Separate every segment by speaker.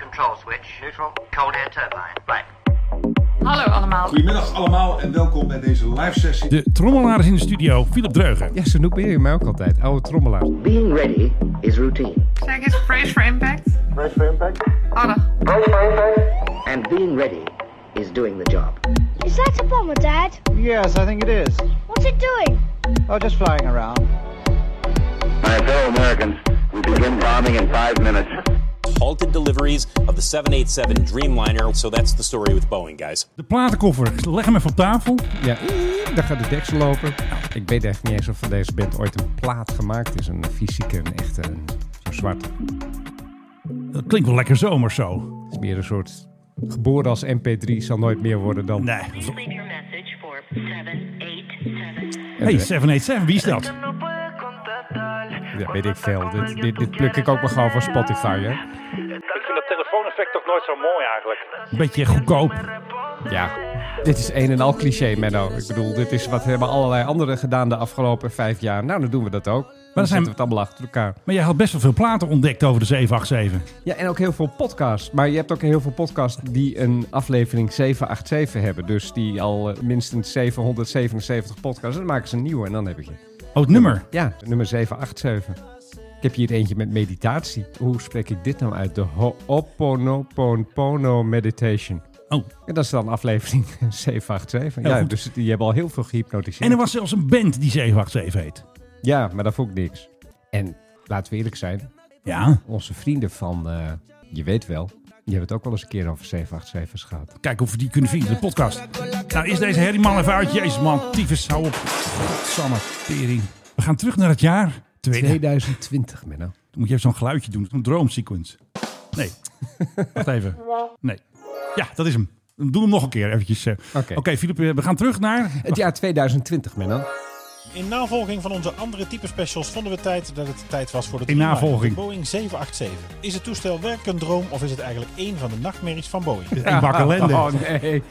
Speaker 1: Control switch. Neutral. Cold air turbine. Right.
Speaker 2: Hallo allemaal.
Speaker 3: Goedemiddag allemaal en welkom bij deze live sessie.
Speaker 4: De trommelaar is in de studio, Philip Dreugen.
Speaker 5: Ja, ze noemen je mij ook altijd. Oude trommelaar.
Speaker 6: Being ready is routine,
Speaker 2: Zeg eens Praise for Impact.
Speaker 7: Brace for impact.
Speaker 2: Handig.
Speaker 7: Brace for impact.
Speaker 6: and being ready is doing the job.
Speaker 8: Is that a bomber, Dad?
Speaker 7: Yes, I think it is.
Speaker 8: What's it doing?
Speaker 7: Oh, just flying around.
Speaker 9: My fellow Americans, we begin bombing in five minutes.
Speaker 10: halted deliveries of the 787 Dreamliner. So that's the story with Boeing, guys.
Speaker 4: De platenkoffer, leg hem even op tafel.
Speaker 5: Ja, daar gaat de deksel lopen. Ik weet echt niet eens of van deze band ooit een Nou, plaat gemaakt eh, is. Een fysieke, een echte, een zo'n zwart.
Speaker 4: Dat klinkt wel lekker zomers zo.
Speaker 5: Het is meer een soort... Geboren als MP3 zal nooit meer worden dan... Eh,
Speaker 4: Nee.
Speaker 11: Leave your message for 787.
Speaker 4: Hey, 787, wie is dat?
Speaker 5: Ja, weet ik veel. Dit, dit, dit pluk ik ook maar gewoon van Spotify, hè?
Speaker 12: Ik vind dat telefooneffect toch nooit zo mooi eigenlijk.
Speaker 4: Een beetje goedkoop.
Speaker 5: Ja. Dit is een en al cliché, Menno. Ik bedoel, dit is wat hebben allerlei anderen gedaan de afgelopen vijf jaar. Nou, dan doen we dat ook. Dan
Speaker 4: zijn-
Speaker 5: zetten we het allemaal achter elkaar.
Speaker 4: Maar jij had best wel veel platen ontdekt over de 787.
Speaker 5: Ja, en ook heel veel podcasts. Maar je hebt ook heel veel podcasts die een aflevering 787 hebben. Dus die al eh, minstens 777 podcasts. Dan maken ze een nieuwe en dan heb ik je.
Speaker 4: Oh, het nummer.
Speaker 5: Ja, nummer 787. Ik heb hier eentje met meditatie. Hoe spreek ik dit nou uit? De Ho'oponopono meditation.
Speaker 4: Oh.
Speaker 5: En dat is dan aflevering 787.
Speaker 4: Heel
Speaker 5: Ja,
Speaker 4: goed.
Speaker 5: dus die hebben al heel veel gehypnotiseerd.
Speaker 4: En er was zelfs een band die 787 heet.
Speaker 5: Ja, maar dat vond ik niks. En laten we eerlijk zijn,
Speaker 4: Ja,
Speaker 5: onze vrienden van, eh, je weet wel, die hebben het ook wel eens een keer over 787's gehad.
Speaker 4: kijk of we die kunnen vinden in de podcast. Nou, is deze Harry man even uit. Jezus man, tyfus, hou op. Godsamme, tering. We gaan terug naar het jaar 2000.
Speaker 5: 2020, Menno.
Speaker 4: Dan moet je even zo'n geluidje doen, een droomsequence. Nee, wacht even. Nee. Ja, dat is hem. Doe hem nog een keer eventjes. eh.
Speaker 5: Oké.
Speaker 4: Oké, Filip, eh, we gaan terug naar...
Speaker 5: Het jaar 2020, Menno.
Speaker 13: In navolging van onze andere type specials vonden we tijd dat het de tijd was voor de
Speaker 4: In navolging.
Speaker 13: de Boeing 787. Is het toestel werkelijk een droom of is het eigenlijk één van de nachtmerries van Boeing?
Speaker 4: Een bak ellende.
Speaker 5: Oh nee,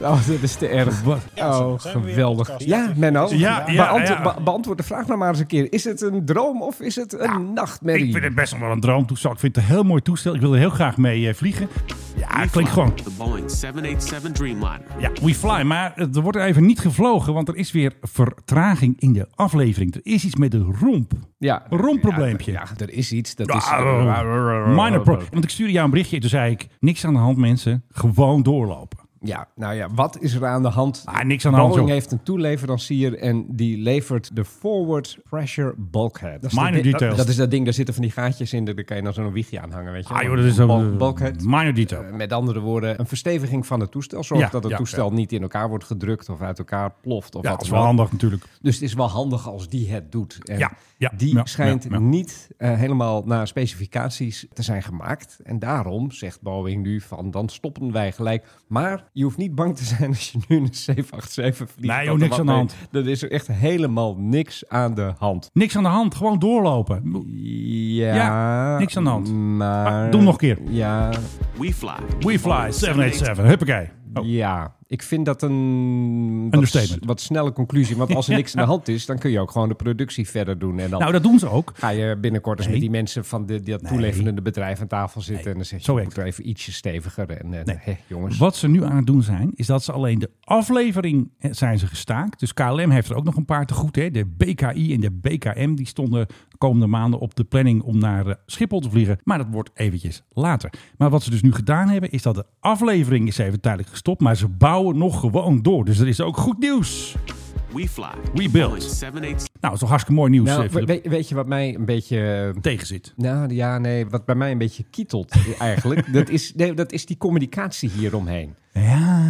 Speaker 5: oh, dit is te erg. Oh,
Speaker 13: zijn we weer in de
Speaker 5: geweldig.
Speaker 13: podcast.
Speaker 5: Ja, Menno,
Speaker 4: Ja, ja,
Speaker 5: beantwo-
Speaker 4: ja.
Speaker 5: be- beantwoord de vraag nou maar eens een keer. Is het een droom of is het een nachtmerrie?
Speaker 4: Ik vind het best nog wel een droomtoestel. Ik vind het een heel mooi toestel. Ik wil er heel graag mee eh, vliegen. Ja, het klinkt gewoon...
Speaker 12: The Boeing 787 Dreamliner.
Speaker 4: Ja, we fly. Maar eh, er wordt even niet gevlogen, want er is weer vertraging in de aflevering. Er is iets met de romp.
Speaker 5: Ja.
Speaker 4: Een rompprobleempje.
Speaker 5: Ja, er is iets. Dat is...
Speaker 4: Minor pro. Want ik stuurde jou een berichtje. Toen zei ik, niks aan de hand mensen. Gewoon doorlopen.
Speaker 5: Ja, nou ja, wat is er aan de hand?
Speaker 4: Ah, niks aan de hand,
Speaker 5: Boeing
Speaker 4: joh.
Speaker 5: heeft een toeleverancier en die levert de Forward Pressure Bulkhead. Dat is
Speaker 4: Minor
Speaker 5: dat ding-
Speaker 4: details.
Speaker 5: Dat is dat ding, daar zitten van die gaatjes in, daar kan je dan zo'n wiegje aan hangen, weet je.
Speaker 4: Ah joh, dat is een
Speaker 5: Bul- bulkhead.
Speaker 4: minor detail.
Speaker 5: Eh, Met andere woorden, een versteviging van het toestel. Zorgt
Speaker 4: Ja,
Speaker 5: dat het
Speaker 4: ja,
Speaker 5: toestel niet in elkaar wordt gedrukt of uit elkaar ploft. Of
Speaker 4: Ja,
Speaker 5: wat
Speaker 4: dat is
Speaker 5: dan
Speaker 4: wel
Speaker 5: ook.
Speaker 4: handig natuurlijk.
Speaker 5: Dus het is wel handig als die het doet. En
Speaker 4: Ja, ja,
Speaker 5: die
Speaker 4: ja,
Speaker 5: schijnt
Speaker 4: ja, ja.
Speaker 5: niet eh, helemaal naar specificaties te zijn gemaakt. En daarom zegt Boeing nu van dan stoppen wij gelijk. Maar je hoeft niet bang te zijn als je nu een 787 vliegt.
Speaker 4: Nee, joh,
Speaker 5: Dat er
Speaker 4: niks
Speaker 5: wat
Speaker 4: aan de
Speaker 5: mee-
Speaker 4: hand.
Speaker 5: Dat is er echt helemaal niks aan de hand.
Speaker 4: Niks aan de hand. Gewoon doorlopen.
Speaker 5: Ja,
Speaker 4: Ja, niks aan de hand.
Speaker 5: Maar,
Speaker 4: Maar doe hem nog een keer.
Speaker 5: Ja,
Speaker 12: We fly.
Speaker 4: We fly 787. Huppakee. Oh.
Speaker 5: ja, ik vind dat een wat,
Speaker 4: Understatement.
Speaker 5: wat snelle conclusie. Want als er niks aan de hand is, dan kun je ook gewoon de productie verder doen. En dan
Speaker 4: Nou, dat doen ze ook.
Speaker 5: Ga je binnenkort eens
Speaker 4: Nee.
Speaker 5: met die mensen van de, die dat toeleverende bedrijf aan tafel zitten en dan zeg je,
Speaker 4: zo
Speaker 5: je
Speaker 4: werkt
Speaker 5: moet er even ietsje steviger. En, en hè, jongens,
Speaker 4: Wat ze nu aan het doen zijn, is dat ze alleen de aflevering eh, zijn ze gestaakt. Dus KLM heeft er ook nog een paar te goed. Hè? De BKI en de BKM die stonden de komende maanden op de planning om naar eh, Schiphol te vliegen. Maar dat wordt eventjes later. Maar wat ze dus nu gedaan hebben, is dat de aflevering is even tijdelijk gestopt. Maar ze bouwen nog gewoon door. Dus er is ook goed nieuws.
Speaker 12: We fly.
Speaker 4: We build. Nou, dat is toch hartstikke mooi nieuws.
Speaker 5: nou,
Speaker 4: eh,
Speaker 5: we-
Speaker 4: Philip.
Speaker 5: weet, weet je wat mij een beetje...
Speaker 4: tegen zit.
Speaker 5: Nou ja, nee, wat bij mij een beetje kietelt eigenlijk, dat, is, nee, dat is die communicatie hieromheen.
Speaker 4: Ja.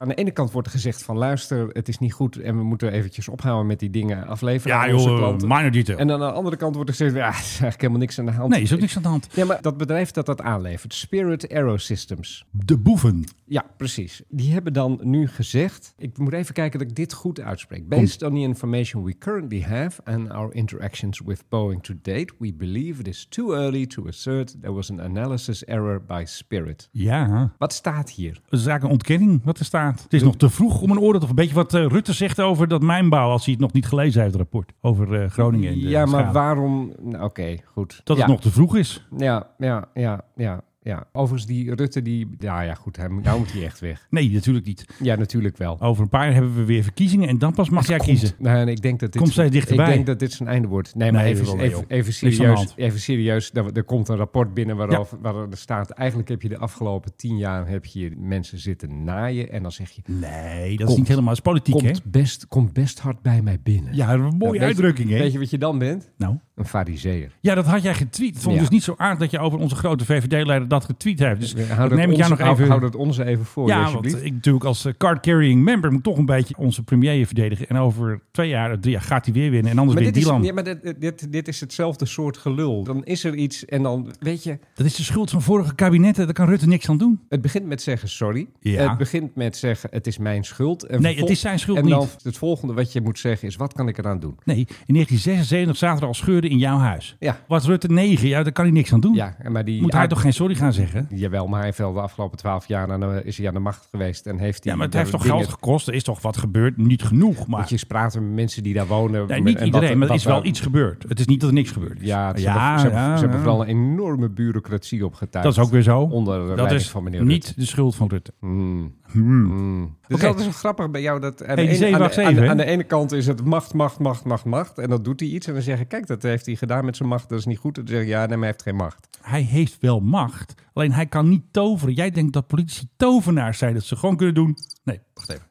Speaker 5: Aan de ene kant wordt er gezegd van luister, het is niet goed en we moeten eventjes ophouden met die dingen afleveren
Speaker 4: Ja,
Speaker 5: aan onze
Speaker 4: joh,
Speaker 5: klanten.
Speaker 4: minor detail.
Speaker 5: En aan de andere kant wordt er gezegd, ja, er is eigenlijk helemaal niks aan de hand.
Speaker 4: Nee, is ook niks aan de hand.
Speaker 5: Ja, maar dat bedrijf dat dat aanlevert, Spirit Aerosystems,
Speaker 4: De boeven.
Speaker 5: Ja, precies. Die hebben dan nu gezegd, ik moet even kijken dat ik dit goed uitspreek. Based on the information we currently have and our interactions with Boeing to date, we believe it is too early to assert there was an analysis error by Spirit.
Speaker 4: Ja.
Speaker 5: Wat staat hier?
Speaker 4: Dat is eigenlijk een ontkenning wat er staat. Het is nog te vroeg om een oordeel te Een beetje wat eh, Rutte zegt over dat mijnbouw, als hij het nog niet gelezen heeft, het rapport over eh, Groningen. En de
Speaker 5: ja, maar
Speaker 4: schade.
Speaker 5: waarom? nou, Oké, goed.
Speaker 4: Dat
Speaker 5: ja.
Speaker 4: het nog te vroeg is.
Speaker 5: Ja, ja, ja, ja. Ja, overigens die Rutte, die, ja, ja goed, hij, moet- nou moet hij echt weg.
Speaker 4: Nee, natuurlijk niet.
Speaker 5: Ja, natuurlijk wel.
Speaker 4: Over een paar jaar hebben we weer verkiezingen en dan pas mag jij kiezen.
Speaker 5: Nou, en ik denk dat dit
Speaker 4: Komt steeds dichterbij.
Speaker 5: Ik denk dat dit zijn einde wordt. Nee, maar
Speaker 4: Nee,
Speaker 5: even,
Speaker 4: wel,
Speaker 5: even,
Speaker 4: joh.
Speaker 5: even
Speaker 4: Niks aan de
Speaker 5: serieus.
Speaker 4: hand.
Speaker 5: Even serieus. Er, er komt een rapport binnen waarover, waarin er staat... eigenlijk heb je de afgelopen tien jaar heb je mensen zitten naaien. En dan zeg je...
Speaker 4: Nee, dat is niet helemaal dat is politiek,
Speaker 5: komt
Speaker 4: hè?
Speaker 5: Best, komt best hard bij mij binnen.
Speaker 4: Ja, een
Speaker 5: Nou,
Speaker 4: mooie
Speaker 5: weet je-
Speaker 4: uitdrukking, hè?
Speaker 5: Weet je wat je dan bent?
Speaker 4: Nou.
Speaker 5: Een fariseer.
Speaker 4: Ja, dat had jij getweet. Het vond ik
Speaker 5: Ja.
Speaker 4: dus niet zo aardig dat je over onze grote VVD-leider dat getweet hebt. Dus
Speaker 5: Hou
Speaker 4: dat
Speaker 5: dat
Speaker 4: neem ik jou
Speaker 5: ons-
Speaker 4: nog
Speaker 5: hou-
Speaker 4: even...
Speaker 5: Hou dat ons even voor,
Speaker 4: ja, want
Speaker 5: alsjeblieft.
Speaker 4: ik natuurlijk als eh, card-carrying member moet toch een beetje onze premier verdedigen. En over twee jaar, eh, drie jaar gaat hij weer winnen. En anders
Speaker 5: Maar,
Speaker 4: weer
Speaker 5: dit is,
Speaker 4: Dylan.
Speaker 5: ja, maar dit, dit, dit is hetzelfde soort gelul. Dan is er iets en dan, weet je...
Speaker 4: Dat is de schuld van vorige kabinetten. Daar kan Rutte niks aan doen.
Speaker 5: Het begint met zeggen sorry.
Speaker 4: Ja.
Speaker 5: Het begint met zeggen het is mijn schuld. En
Speaker 4: Nee,
Speaker 5: vervol-
Speaker 4: het is zijn schuld
Speaker 5: En dan
Speaker 4: niet.
Speaker 5: het volgende wat je moet zeggen is wat kan ik eraan doen?
Speaker 4: Nee, in 1976 zaten er al scheuren in jouw huis.
Speaker 5: Ja.
Speaker 4: Was Rutte 9, ja, daar kan hij niks aan doen.
Speaker 5: Ja, en maar die
Speaker 4: Moet hij toch geen sorry gaan zeggen?
Speaker 5: Jawel, maar hij heeft wel de afgelopen twaalf jaar aan de, is hij aan de macht geweest en heeft hij.
Speaker 4: Ja, maar het
Speaker 5: daar
Speaker 4: heeft toch
Speaker 5: dingen-
Speaker 4: geld gekost? Er is toch wat gebeurd? Niet genoeg, maar...
Speaker 5: Moet je eens praten met mensen die daar wonen.
Speaker 4: Nee,
Speaker 5: en
Speaker 4: niet
Speaker 5: wat-
Speaker 4: iedereen, maar er
Speaker 5: wat
Speaker 4: is wel
Speaker 5: daar-
Speaker 4: iets gebeurd. Het is niet dat er niks gebeurd is.
Speaker 5: Ja, ze, hebben, ze, hebben, ze hebben
Speaker 4: ja.
Speaker 5: vooral een enorme bureaucratie opgetuigd.
Speaker 4: Dat is ook weer zo.
Speaker 5: Onder de
Speaker 4: dat
Speaker 5: leiding
Speaker 4: is
Speaker 5: van meneer
Speaker 4: niet
Speaker 5: Rutte.
Speaker 4: de schuld van Rutte.
Speaker 5: Hmm.
Speaker 4: Hmm.
Speaker 5: Dus Dat
Speaker 4: Oké.
Speaker 5: is altijd zo grappig bij jou. Dat aan,
Speaker 4: Hey,
Speaker 5: de
Speaker 4: die
Speaker 5: ene, aan, de,
Speaker 4: 787,
Speaker 5: aan de-
Speaker 4: hè?
Speaker 5: aan de ene kant is het macht, macht, macht, macht, macht. En dan doet hij iets. En dan zeggen, kijk, dat heeft hij gedaan met zijn macht. Dat is niet goed. En dan zeg je, ja, nee, maar hij heeft geen macht.
Speaker 4: Hij heeft wel macht, alleen hij kan niet toveren. Jij denkt dat politici tovenaars zijn, dat ze gewoon kunnen doen... Nee, wacht even.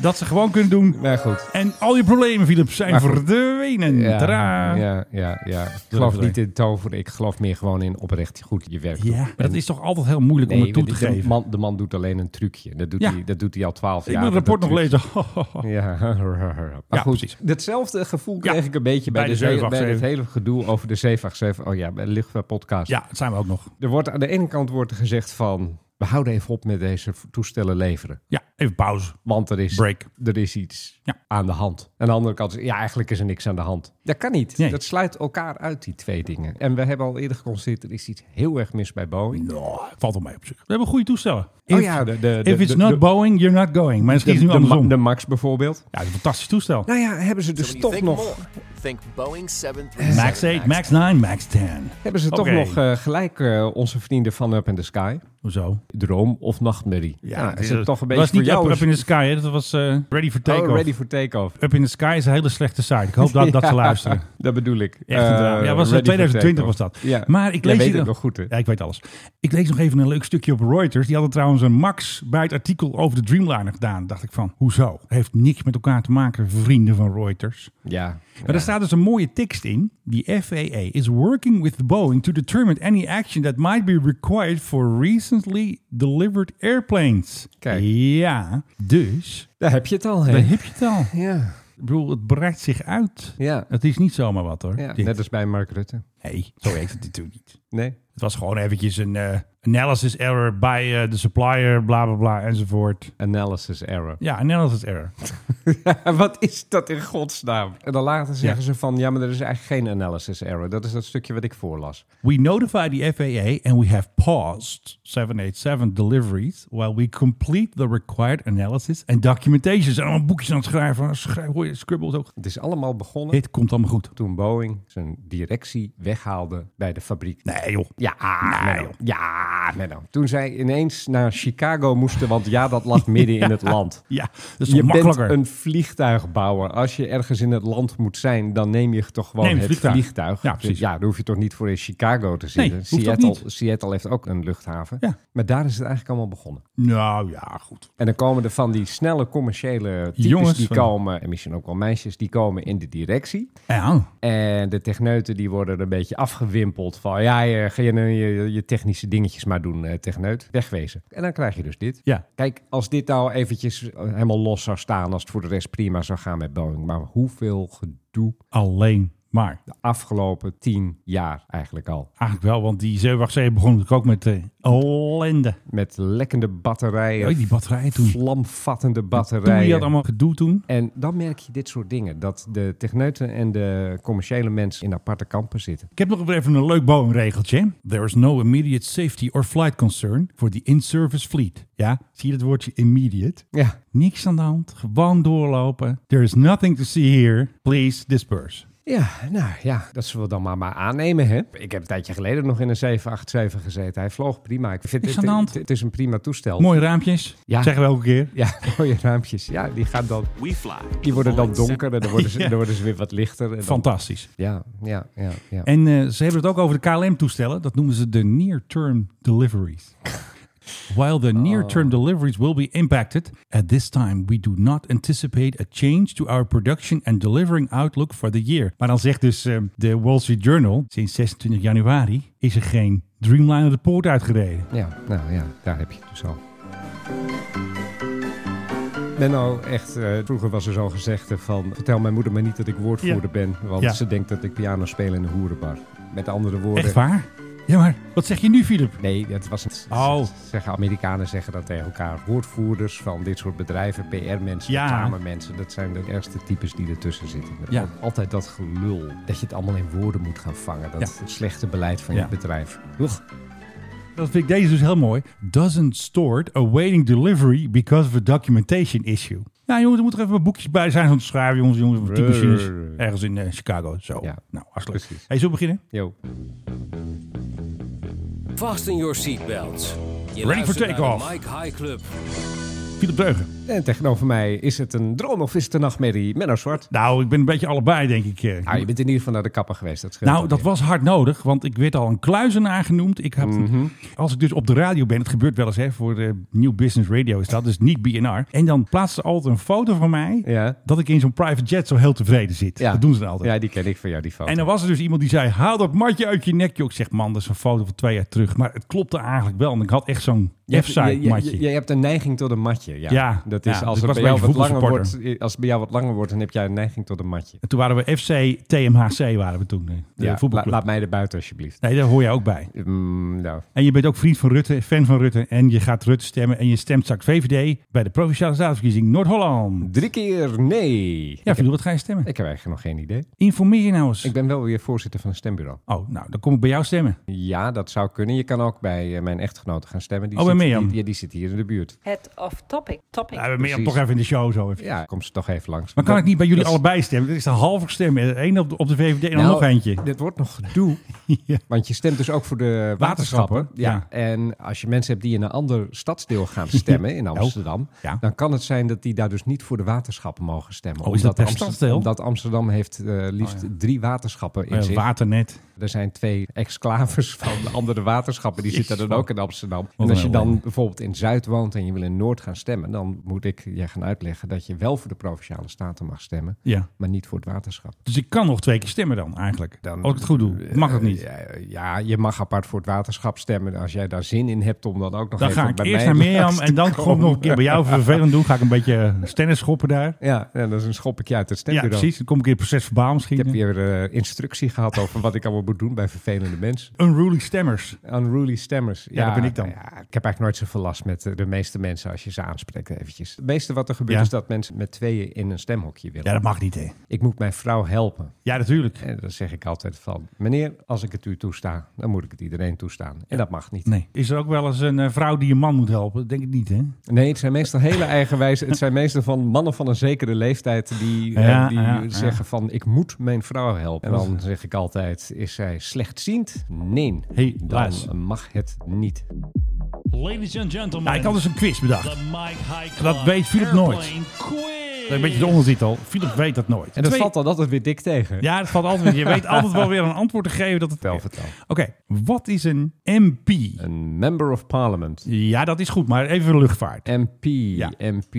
Speaker 4: dat ze gewoon kunnen doen...
Speaker 5: Maar goed.
Speaker 4: En al je problemen, Philip, zijn
Speaker 5: Maar goed.
Speaker 4: verdwenen. Tadaa.
Speaker 5: Ja, ja, ja, ja. Ik geloof
Speaker 4: Durf
Speaker 5: niet in toveren. Ik geloof meer gewoon in oprecht goed je werk doen.
Speaker 4: Ja, maar dat is toch altijd heel moeilijk om
Speaker 5: Nee,
Speaker 4: het toe
Speaker 5: de,
Speaker 4: te
Speaker 5: de
Speaker 4: geven.
Speaker 5: man, de man doet alleen een trucje. Dat doet,
Speaker 4: Ja.
Speaker 5: hij, dat doet hij al twaalf
Speaker 4: Ik
Speaker 5: jaar.
Speaker 4: wil het rapport nog
Speaker 5: Dat trucje-
Speaker 4: lezen.
Speaker 5: Ja, maar
Speaker 4: Ja,
Speaker 5: goed.
Speaker 4: precies.
Speaker 5: Datzelfde gevoel
Speaker 4: Ja,
Speaker 5: kreeg ik een beetje bij,
Speaker 4: bij de
Speaker 5: de hele- bij
Speaker 4: 787.
Speaker 5: het hele gedoe over de 787. Oh ja, bij de Luchtvaartpodcast.
Speaker 4: Ja, dat zijn we ook nog.
Speaker 5: Er wordt aan de ene kant wordt er gezegd van... we houden even op met deze toestellen leveren.
Speaker 4: Ja, even pauze.
Speaker 5: Want er is,
Speaker 4: Break.
Speaker 5: er is iets
Speaker 4: Ja.
Speaker 5: aan de hand. Aan de andere kant, is- ja, eigenlijk is er niks aan de hand. Dat kan niet.
Speaker 4: Nee.
Speaker 5: Dat sluit elkaar uit, die twee dingen. En we hebben al eerder geconstateerd... er is iets heel erg mis bij Boeing.
Speaker 4: Nou, valt wel mee op zich. We hebben goede toestellen.
Speaker 5: Oh ja, de- de- de-
Speaker 4: if it's
Speaker 5: de-
Speaker 4: not
Speaker 5: de-
Speaker 4: Boeing, you're not going. Maar misschien is het nu
Speaker 5: de, Ma-
Speaker 4: andersom.
Speaker 5: de Max bijvoorbeeld.
Speaker 4: ja, het is een fantastisch toestel.
Speaker 5: Nou ja, hebben ze dus toch nog,
Speaker 14: Think Boeing 7
Speaker 4: Max 8, Max 9, Max 10.
Speaker 5: hebben ze toch
Speaker 4: Oké.
Speaker 5: nog eh, gelijk eh, onze vrienden van Up in the Sky.
Speaker 4: Hoezo?
Speaker 5: Droom of nachtmerrie. Ja, dat is
Speaker 4: dus dat
Speaker 5: toch een
Speaker 4: dat
Speaker 5: beetje
Speaker 4: was
Speaker 5: voor
Speaker 4: niet
Speaker 5: jou.
Speaker 4: up,
Speaker 5: is-
Speaker 4: up in the Sky, hè? dat was eh, Ready for Takeoff.
Speaker 5: oh, ready for takeoff.
Speaker 4: Up in the Sky is een hele slechte site. Ik hoop dat, dat ze
Speaker 5: Ja,
Speaker 4: luisteren.
Speaker 5: Dat bedoel ik.
Speaker 4: Echt een drama.
Speaker 5: Eh,
Speaker 4: ja, was
Speaker 5: Ready for
Speaker 4: in 2020 was
Speaker 5: Takeoff.
Speaker 4: dat.
Speaker 5: Ja.
Speaker 4: Maar ik
Speaker 5: Jij
Speaker 4: lees
Speaker 5: weet
Speaker 4: hier nog-
Speaker 5: het nog goed, hè?
Speaker 4: Ja, ik weet alles. Ik lees nog even een leuk stukje op Reuters. Die hadden trouwens een Max bij het artikel over de Dreamliner gedaan. Dacht ik van, hoezo? Heeft niks met elkaar te maken, vrienden van Reuters.
Speaker 5: Ja.
Speaker 4: Maar daar staat dus een mooie tekst in. The FAA is working with Boeing to determine any action that might be required for recently delivered airplanes.
Speaker 5: Kijk.
Speaker 4: Ja, dus
Speaker 5: Daar heb je het al, hè?
Speaker 4: daar heb je het al.
Speaker 5: Ja.
Speaker 4: Ik bedoel, het breidt zich uit.
Speaker 5: Ja.
Speaker 4: Het is niet zomaar wat hoor.
Speaker 5: ja.
Speaker 4: Dit.
Speaker 5: Net als bij Mark Rutte.
Speaker 4: Nee, zo heet het natuurlijk niet.
Speaker 5: Nee?
Speaker 4: Het was gewoon eventjes een eh, analysis error bij eh, de supplier, bla bla bla enzovoort.
Speaker 5: Analysis error.
Speaker 4: Ja, analysis error.
Speaker 5: Wat is dat in godsnaam? En dan later zeggen ze van, ja, maar er is eigenlijk geen analysis error. Dat is dat stukje wat ik voorlas.
Speaker 4: We notify the FAA and we have paused 787 deliveries while we complete the required analysis and documentation. Ze zijn allemaal boekjes aan het schrijven. Schrijf, hoor je, scribbles ook.
Speaker 5: Het is allemaal begonnen
Speaker 4: Dit komt allemaal goed.
Speaker 5: toen Boeing zijn directie weghaalde bij de fabriek.
Speaker 4: Nee joh.
Speaker 5: Ja, Menno. ja, Menno. Toen zij ineens naar Chicago moesten, want ja, dat lag midden in het land.
Speaker 4: Ja, dat is
Speaker 5: Je
Speaker 4: toch
Speaker 5: bent
Speaker 4: makkelijker.
Speaker 5: een vliegtuigbouwer. Als je ergens in het land moet zijn, dan neem je toch gewoon
Speaker 4: Neem
Speaker 5: het
Speaker 4: het
Speaker 5: vliegtuig.
Speaker 4: vliegtuig. Ja, precies.
Speaker 5: daar hoef je toch niet voor in Chicago te zitten.
Speaker 4: hoeft ook
Speaker 5: Seattle,
Speaker 4: niet.
Speaker 5: Seattle heeft ook een luchthaven.
Speaker 4: Ja.
Speaker 5: Maar daar is het eigenlijk allemaal begonnen.
Speaker 4: Nou ja, goed.
Speaker 5: En dan komen er van die snelle commerciële types
Speaker 4: Jongens
Speaker 5: die
Speaker 4: van-
Speaker 5: komen, en misschien ook wel meisjes, die komen in de directie.
Speaker 4: Ja,
Speaker 5: En de techneuten die worden een beetje afgewimpeld van ja, je, ga je, je, je technische dingetjes maar doen, eh, techneut. Wegwezen. En dan krijg je dus dit.
Speaker 4: ja.
Speaker 5: Kijk, als dit nou eventjes eh, helemaal los zou staan, als het voor de rest prima zou gaan met Boeing. Maar hoeveel gedoe
Speaker 4: alleen maar.
Speaker 5: de afgelopen tien jaar eigenlijk al.
Speaker 4: Eigenlijk wel, want die 787 begon natuurlijk ook met eh ellende.
Speaker 5: Met lekkende batterijen,
Speaker 4: Ja, die batterijen toen.
Speaker 5: vlamvattende
Speaker 4: Toen die
Speaker 5: batterijen.
Speaker 4: had allemaal gedoe toen.
Speaker 5: En dan merk je dit soort dingen. Dat de techneuten en de commerciële mensen in aparte kampen zitten.
Speaker 4: Ik heb nog even een leuk Boeing-regeltje. There is no immediate safety or flight concern for the in-service fleet. Ja, zie je dat woordje immediate?
Speaker 5: Ja,
Speaker 4: Niks aan de hand, gewoon doorlopen. There is nothing to see here. Please disperse.
Speaker 5: Ja, nou ja, dat zullen we dan maar, maar aannemen. Hè? Ik heb een tijdje geleden nog in een 787 gezeten. Hij vloog prima. Ik vind
Speaker 4: Niks
Speaker 5: het,
Speaker 4: aan de hand.
Speaker 5: het, het is een prima toestel.
Speaker 4: Mooie raampjes.
Speaker 5: Ja.
Speaker 4: Zeggen we elke keer.
Speaker 5: Ja, mooie raampjes. Ja, die gaan dan. Die worden dan donker en dan worden ze,
Speaker 4: Ja.
Speaker 5: dan worden ze weer wat lichter. En dan-
Speaker 4: Fantastisch.
Speaker 5: Ja, ja, ja. ja.
Speaker 4: En eh, ze hebben het ook over de KLM-toestellen. Dat noemen ze de near-term deliveries. While the near-term deliveries will be impacted, at this time we do not anticipate a change to our production and delivering outlook for the year. Maar dan zegt dus eh, de Wall Street Journal, sinds 26 januari is er geen Dreamliner de poort uitgereden.
Speaker 5: Ja, nou ja, daar heb je het dus al. Menno, echt, eh, vroeger was er zo'n gezegde van... vertel mijn moeder maar niet dat ik woordvoerder
Speaker 4: Ja.
Speaker 5: ben... want
Speaker 4: Ja.
Speaker 5: ze denkt dat ik piano speel in een hoerenbar. Met andere woorden...
Speaker 4: Echt waar? Ja, maar wat zeg je nu, Philip?
Speaker 5: Nee, dat was het.
Speaker 4: Oh.
Speaker 5: Zeggen, Amerikanen zeggen dat tegen elkaar. Woordvoerders van dit soort bedrijven, PR-mensen,
Speaker 4: Ja.
Speaker 5: reclame-mensen... dat zijn de ergste types die ertussen zitten.
Speaker 4: Ja.
Speaker 5: Al- Altijd dat gelul. Dat je het allemaal in woorden moet gaan vangen. Dat
Speaker 4: Ja.
Speaker 5: het slechte beleid van
Speaker 4: Ja.
Speaker 5: je bedrijf. Oeg.
Speaker 4: Dat vind ik deze dus heel mooi. Doesn't stored awaiting delivery because of a documentation issue. Nou jongens, er moeten er even wat boekjes bij zijn om te schrijven, jongens. jongens type machines. Ergens in eh, Chicago. Zo.
Speaker 5: Ja.
Speaker 4: Nou, hartstikke.
Speaker 5: Precies.
Speaker 4: Hey, zullen we beginnen?
Speaker 5: Yo.
Speaker 15: Fasten your seatbelts. Je
Speaker 4: Ready
Speaker 15: luistert
Speaker 4: for
Speaker 15: naar
Speaker 4: takeoff.
Speaker 15: de Mike High Club.
Speaker 4: Philip Deugen.
Speaker 5: En tegenover mij, is het een droom of is het een nachtmerrie? Menno Zwart.
Speaker 4: Nou, ik ben een beetje allebei, denk ik. eh.
Speaker 5: Ah, je bent in ieder geval naar de kapper geweest. Dat scheelt
Speaker 4: Nou,
Speaker 5: ook
Speaker 4: dat
Speaker 5: weer.
Speaker 4: was hard nodig, want ik werd al een kluizenaar genoemd. Ik had,
Speaker 5: Mhm.
Speaker 4: Als ik dus op de radio ben, het gebeurt wel eens hè, voor de New Business Radio is dat, dus niet BNR. En dan plaatsen ze altijd een foto van mij
Speaker 5: Ja.
Speaker 4: dat ik in zo'n private jet zo heel tevreden zit.
Speaker 5: Ja.
Speaker 4: Dat doen ze dan altijd.
Speaker 5: Ja, die ken ik van jou, die foto.
Speaker 4: En dan was er dus iemand die zei, haal dat matje uit je nek. joh." Ik zeg, man, dat is een foto van twee jaar terug. Maar het klopte eigenlijk wel. En ik had echt zo'n
Speaker 5: Je hebt-
Speaker 4: F-site
Speaker 5: je-
Speaker 4: matje.
Speaker 5: Je, je, je hebt een neiging tot een matje. Ja,
Speaker 4: Ja,
Speaker 5: dat is
Speaker 4: ja,
Speaker 5: als
Speaker 4: dus
Speaker 5: het
Speaker 4: ik
Speaker 5: bij
Speaker 4: was
Speaker 5: jou
Speaker 4: een
Speaker 5: wat langer
Speaker 4: voetbalsupporter.
Speaker 5: wordt, als het bij jou wat langer wordt, dan heb jij een neiging tot een matje.
Speaker 4: En toen waren we FC TMHC waren we toen. eh, De
Speaker 5: Ja, la-
Speaker 4: voetbalclub.
Speaker 5: laat mij er buiten alsjeblieft.
Speaker 4: Nee, daar hoor je ook bij.
Speaker 5: Mm, nou,
Speaker 4: En je bent ook vriend van Rutte, fan van Rutte. En je gaat Rutte stemmen. En je stemt straks VVD bij de Provinciale Statenverkiezing Noord-Holland.
Speaker 5: drie keer nee.
Speaker 4: Ja,
Speaker 5: ik, heb,
Speaker 4: Philip, wat ga je stemmen?
Speaker 5: ik heb eigenlijk nog geen idee.
Speaker 4: Informeer je nou eens.
Speaker 5: Ik ben wel weer voorzitter van een stembureau.
Speaker 4: Oh, nou, dan kom ik bij jou stemmen.
Speaker 5: Ja, dat zou kunnen. Je kan ook bij eh, mijn echtgenote gaan stemmen. Die
Speaker 4: Oh, bij
Speaker 5: zit,
Speaker 4: Mirjam.
Speaker 5: Die, die, die zit hier in de buurt.
Speaker 16: Het off topic. Topic.
Speaker 4: Nou, we meer
Speaker 5: precies.
Speaker 4: toch even in de show zo. Even.
Speaker 5: Ja, kom ze toch even langs.
Speaker 4: Maar kan ik niet bij jullie
Speaker 5: Dat is-
Speaker 4: allebei stemmen? Dat is de halve stemmen. Eén op de, op de VVD en dan
Speaker 5: Nou,
Speaker 4: nog eentje.
Speaker 5: Dit wordt nog gedoe.
Speaker 4: Ja.
Speaker 5: Want je stemt dus ook voor de
Speaker 4: Waterschappen,
Speaker 5: waterschappen. Ja. En als je mensen hebt die in een ander stadsdeel gaan stemmen, in Amsterdam,
Speaker 4: Ja.
Speaker 5: dan kan het zijn dat die daar dus niet voor de waterschappen mogen stemmen.
Speaker 4: Oh, is dat per
Speaker 5: Amsterdam,
Speaker 4: stadsdeel? Oh,
Speaker 5: Omdat Amsterdam heeft eh, liefst drie waterschappen in
Speaker 4: Eh,
Speaker 5: zich.
Speaker 4: waternet.
Speaker 5: er zijn twee exclaves van de andere waterschappen, die zitten dan ook in Amsterdam.
Speaker 4: een
Speaker 5: En als je dan
Speaker 4: ellende.
Speaker 5: bijvoorbeeld in Zuid woont en je wil in Noord gaan stemmen, dan moet ik je gaan uitleggen dat je wel voor de Provinciale Staten mag stemmen,
Speaker 4: Ja.
Speaker 5: maar niet voor het waterschap.
Speaker 4: Dus ik kan nog twee keer stemmen dan eigenlijk.
Speaker 5: Dan-
Speaker 4: Als ik het goed doe. Mag dat niet?
Speaker 5: Ja, ja, je mag apart voor het waterschap stemmen. Als jij daar zin in hebt om dan ook nog
Speaker 4: Dan
Speaker 5: even
Speaker 4: ga ik
Speaker 5: bij
Speaker 4: eerst
Speaker 5: mij
Speaker 4: naar Mirjam
Speaker 5: langs te
Speaker 4: en dan kom ik
Speaker 5: komen.
Speaker 4: nog een keer bij jou vervelend doen. Ga ik een beetje stennis schoppen daar.
Speaker 5: Ja, ja, dan schop ik je uit het
Speaker 4: Ja,
Speaker 5: stembureau.
Speaker 4: precies. Dan kom ik in het proces verbaal
Speaker 5: Ik heb
Speaker 4: misschien.
Speaker 5: weer eh, instructie gehad over wat ik allemaal moet doen bij vervelende mensen.
Speaker 4: Unruly stemmers.
Speaker 5: Unruly stemmers.
Speaker 4: Ja, dat ben ik dan.
Speaker 5: Ja, ik heb eigenlijk nooit zoveel last met eh, de meeste mensen als je ze aanspreekt eventjes. Het meeste wat er gebeurt
Speaker 4: Ja.
Speaker 5: is dat mensen met tweeën in een stemhokje willen.
Speaker 4: Ja, dat mag niet hè.
Speaker 5: Ik moet mijn vrouw helpen.
Speaker 4: Ja, natuurlijk.
Speaker 5: En dan zeg ik altijd van, meneer, als ik het u toesta, dan moet ik het iedereen toestaan. En dat mag niet.
Speaker 4: Nee. Is er ook wel eens een eh, vrouw die een man moet helpen? Dat Denk ik niet hè.
Speaker 5: Nee, het zijn meestal hele eigenwijze. Het zijn meestal van mannen van een zekere leeftijd die, eh,
Speaker 4: Ja,
Speaker 5: die
Speaker 4: ja, ja.
Speaker 5: zeggen van ik moet mijn vrouw helpen. En dan zeg ik altijd, is zij slechtziend? Nee,
Speaker 4: Hey,
Speaker 5: dan
Speaker 4: Lars.
Speaker 5: mag het niet.
Speaker 17: Ladies and gentlemen.
Speaker 4: Nou, ik had dus een quiz bedacht.
Speaker 17: The Mike High Club
Speaker 4: Dat weet Philip nooit.
Speaker 17: Airplane Quiz.
Speaker 4: Dat is een beetje de ondertitel. Philip weet dat nooit.
Speaker 5: En dat
Speaker 4: Twee-
Speaker 5: valt dan altijd weer dik tegen.
Speaker 4: Ja, dat valt altijd. Je weet altijd wel weer een antwoord te geven dat het...
Speaker 5: Vertel,
Speaker 4: Oké,
Speaker 5: vertel.
Speaker 4: wat is een MP?
Speaker 5: Een member of parliament.
Speaker 4: Ja, dat is goed, maar even voor de luchtvaart.
Speaker 5: MP,
Speaker 4: Ja.
Speaker 5: MP.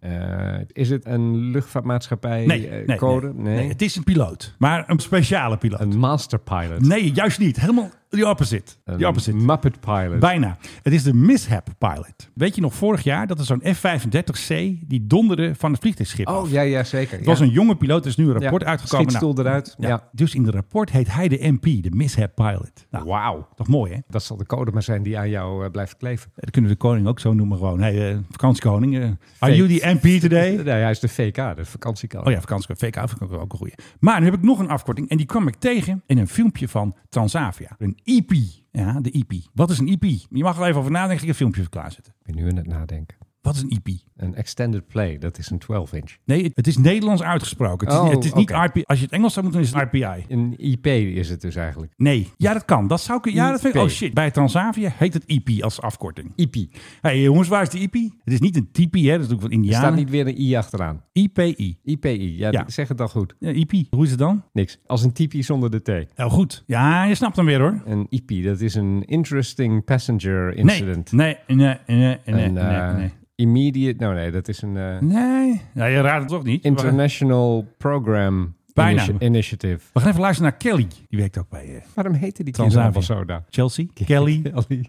Speaker 5: Eh, is het een luchtvaartmaatschappij
Speaker 4: Nee,
Speaker 5: eh,
Speaker 4: nee,
Speaker 5: code?
Speaker 4: nee. Nee, het is een piloot. Maar een speciale piloot.
Speaker 5: Een master pilot.
Speaker 4: Nee, juist niet. Helemaal the opposite.
Speaker 5: Een
Speaker 4: The opposite.
Speaker 5: Muppet pilot.
Speaker 4: Bijna. Het is de Mishap Pilot. Weet je nog vorig jaar dat er zo'n F-35C die donderde van het vliegtuigschip af?
Speaker 5: Oh, ja, ja, zeker.
Speaker 4: Het was een jonge piloot, er is nu een rapport
Speaker 5: Ja,
Speaker 4: uitgekomen. Nou,
Speaker 5: schietstoel eruit, ja.
Speaker 4: Dus in het rapport heet hij de MP, de Mishap Pilot. Nou,
Speaker 5: Wauw.
Speaker 4: toch mooi hè?
Speaker 5: Dat zal de code maar zijn die aan jou eh, blijft kleven.
Speaker 4: Dat kunnen we de koning ook zo noemen gewoon. Hey, eh, vakantiekoning. eh, are you the MP today?
Speaker 5: Nee, hij is de VK, de vakantiecode.
Speaker 4: Oh ja, vakantiekoning. VK vind ik ook een goeie. Maar nu heb ik nog een afkorting en die kwam ik tegen in een filmpje van Transavia. Een E EP. E Ja, de EP. Wat is een EP? Je mag er even over nadenken. Ik ga een filmpje even klaarzetten.
Speaker 5: Ik ben nu aan het nadenken.
Speaker 4: Wat is een E EP?
Speaker 5: Een extended play, dat is een 12-inch.
Speaker 4: Nee, het is Nederlands uitgesproken. Het is,
Speaker 5: Oh,
Speaker 4: het is niet
Speaker 5: oké.
Speaker 4: RPI. Als je het Engels zou moeten, doen, is het RPI.
Speaker 5: Een IP is het dus eigenlijk.
Speaker 4: Nee, ja, dat kan. Dat zou ik. Ja, dat vind ik.
Speaker 5: IP.
Speaker 4: Oh shit. Bij Transavia heet het IP als afkorting.
Speaker 5: IP.
Speaker 4: hey, jongens, waar is de IP? Het is niet een tipi, hè? Dat is natuurlijk van
Speaker 5: Er
Speaker 4: Indianen.
Speaker 5: staat niet weer een I achteraan.
Speaker 4: IPI.
Speaker 5: IPI, ja,
Speaker 4: Ja.
Speaker 5: zeg het dan goed.
Speaker 4: Ja, IP. Hoe is het dan?
Speaker 5: Niks. Als een typie zonder de T.
Speaker 4: Heel goed. Ja, je snapt hem weer hoor.
Speaker 5: Een IP, dat is een interesting passenger incident.
Speaker 4: Nee, nee, nee, nee, nee,
Speaker 5: Een,
Speaker 4: nee,
Speaker 5: eh,
Speaker 4: nee.
Speaker 5: Immediate, nou nee, dat is een eh,
Speaker 4: Nee. Nou, je raadt het toch niet. We
Speaker 5: International Program
Speaker 4: Bijna.
Speaker 5: Initi- Initiative.
Speaker 4: gaan even luisteren naar Kelly. Die werkt ook bij eh,
Speaker 5: Waarom heette die kinderen
Speaker 4: Transavia.
Speaker 5: allemaal zo dan?
Speaker 4: Chelsea. Kelly.
Speaker 5: Kelly.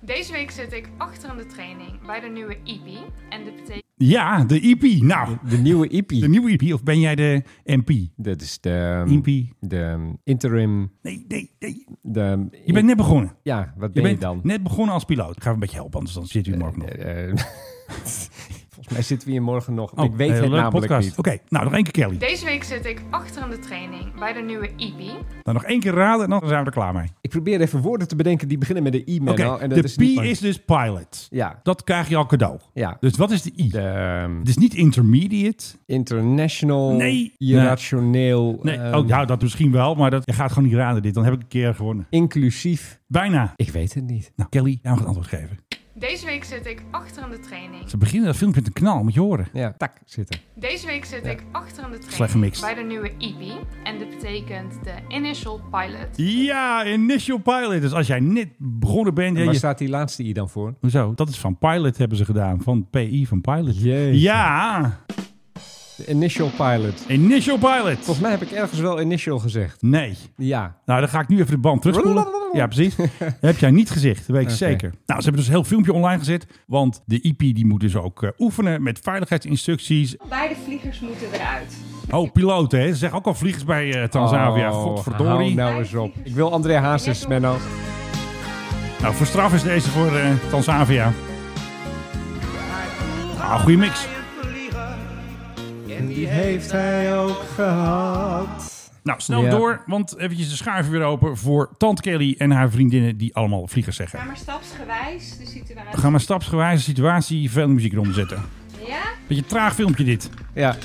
Speaker 2: Deze week zit ik achter in de training bij de nieuwe EP. En dit betekent
Speaker 4: Ja, de IP. Nou,
Speaker 5: De nieuwe IP.
Speaker 4: de nieuwe IP. Of ben jij de MP?
Speaker 5: Dat is de... ehm,
Speaker 4: IP.
Speaker 5: De interim...
Speaker 4: Nee, nee, nee.
Speaker 5: De, ehm,
Speaker 4: Je bent net begonnen.
Speaker 5: Ja, wat
Speaker 4: Je
Speaker 5: ben je,
Speaker 4: bent
Speaker 5: dan?
Speaker 4: net begonnen als piloot. Ik ga even een beetje helpen, anders dan zit u morgen nog.
Speaker 5: Eh, eh, Volgens mij zitten we hier morgen nog.
Speaker 4: Oh,
Speaker 5: ik weet
Speaker 4: eh,
Speaker 5: het
Speaker 4: leuk
Speaker 5: namelijk
Speaker 4: podcast.
Speaker 5: niet.
Speaker 4: Oké, nou nog één keer Kelly.
Speaker 2: Deze week zit ik achter in de training bij de nieuwe EP.
Speaker 4: Dan Nou, nog één keer raden en dan zijn we er klaar mee.
Speaker 5: Ik probeer even woorden te bedenken die beginnen met de I,
Speaker 4: Oké,
Speaker 5: Menno, nou, en dat
Speaker 4: de
Speaker 5: is
Speaker 4: P
Speaker 5: niet-
Speaker 4: is dus pilot.
Speaker 5: Ja,
Speaker 4: Dat krijg je al cadeau.
Speaker 5: ja.
Speaker 4: Dus wat is de I?
Speaker 5: De ehm,
Speaker 4: Het is niet intermediate.
Speaker 5: international,
Speaker 4: Nee.
Speaker 5: irrationeel,
Speaker 4: Nee,
Speaker 5: ehm,
Speaker 4: oh, ja, dat misschien wel, maar dat, je gaat gewoon niet raden dit. Dan heb ik een keer gewonnen.
Speaker 5: inclusief.
Speaker 4: Bijna.
Speaker 5: Ik weet het niet.
Speaker 4: Nou, Kelly, jij mag het antwoord geven.
Speaker 2: Deze week zit ik achter in de training.
Speaker 4: Ze beginnen dat filmpje met een knal, moet je horen.
Speaker 5: Ja, tak, zitten.
Speaker 2: Deze week zit ik achter in de
Speaker 4: Slecht
Speaker 2: training
Speaker 4: gemixt.
Speaker 2: bij de nieuwe EP. En dit betekent de Initial Pilot.
Speaker 4: Ja, initial pilot. Dus als jij net begonnen bent... hè,
Speaker 5: En waar
Speaker 4: je-
Speaker 5: staat die laatste I dan voor?
Speaker 4: Hoezo? Dat is van pilot hebben ze gedaan. Van PI, van pilot.
Speaker 5: Jeetje.
Speaker 4: Ja,
Speaker 5: De initial pilot.
Speaker 4: initial pilot.
Speaker 5: Volgens mij heb ik ergens wel initial gezegd.
Speaker 4: Nee.
Speaker 5: Ja.
Speaker 4: Nou, dan ga ik nu even de band terugspoelen. Ja, precies. Dat heb jij niet gezegd, dat weet ik zeker. Nou, ze hebben dus een heel filmpje online gezet. Want de IP die moet dus ook eh, oefenen met veiligheidsinstructies.
Speaker 16: Beide vliegers moeten eruit.
Speaker 4: Oh, piloten, hè. Ze zeggen ook al vliegers bij eh, Transavia.
Speaker 5: Oh,
Speaker 4: Godverdorie.
Speaker 5: hou
Speaker 4: Nou.
Speaker 5: nou eens op. Ik wil André Hazes, Menno.
Speaker 4: Nou, voor straf is deze voor eh, Transavia. Nou, goede mix.
Speaker 5: En die heeft hij ook gehad.
Speaker 4: Nou, snel
Speaker 5: Ja.
Speaker 4: door, want eventjes de schuiven weer open voor Tante Kelly en haar vriendinnen die allemaal vliegers
Speaker 16: Ga
Speaker 4: zeggen.
Speaker 16: maar stapsgewijs de situatie.
Speaker 4: We gaan maar stapsgewijze situatie veel muziek eronder zetten.
Speaker 16: Ja?
Speaker 4: Beetje traag filmpje dit.
Speaker 5: Ja. dus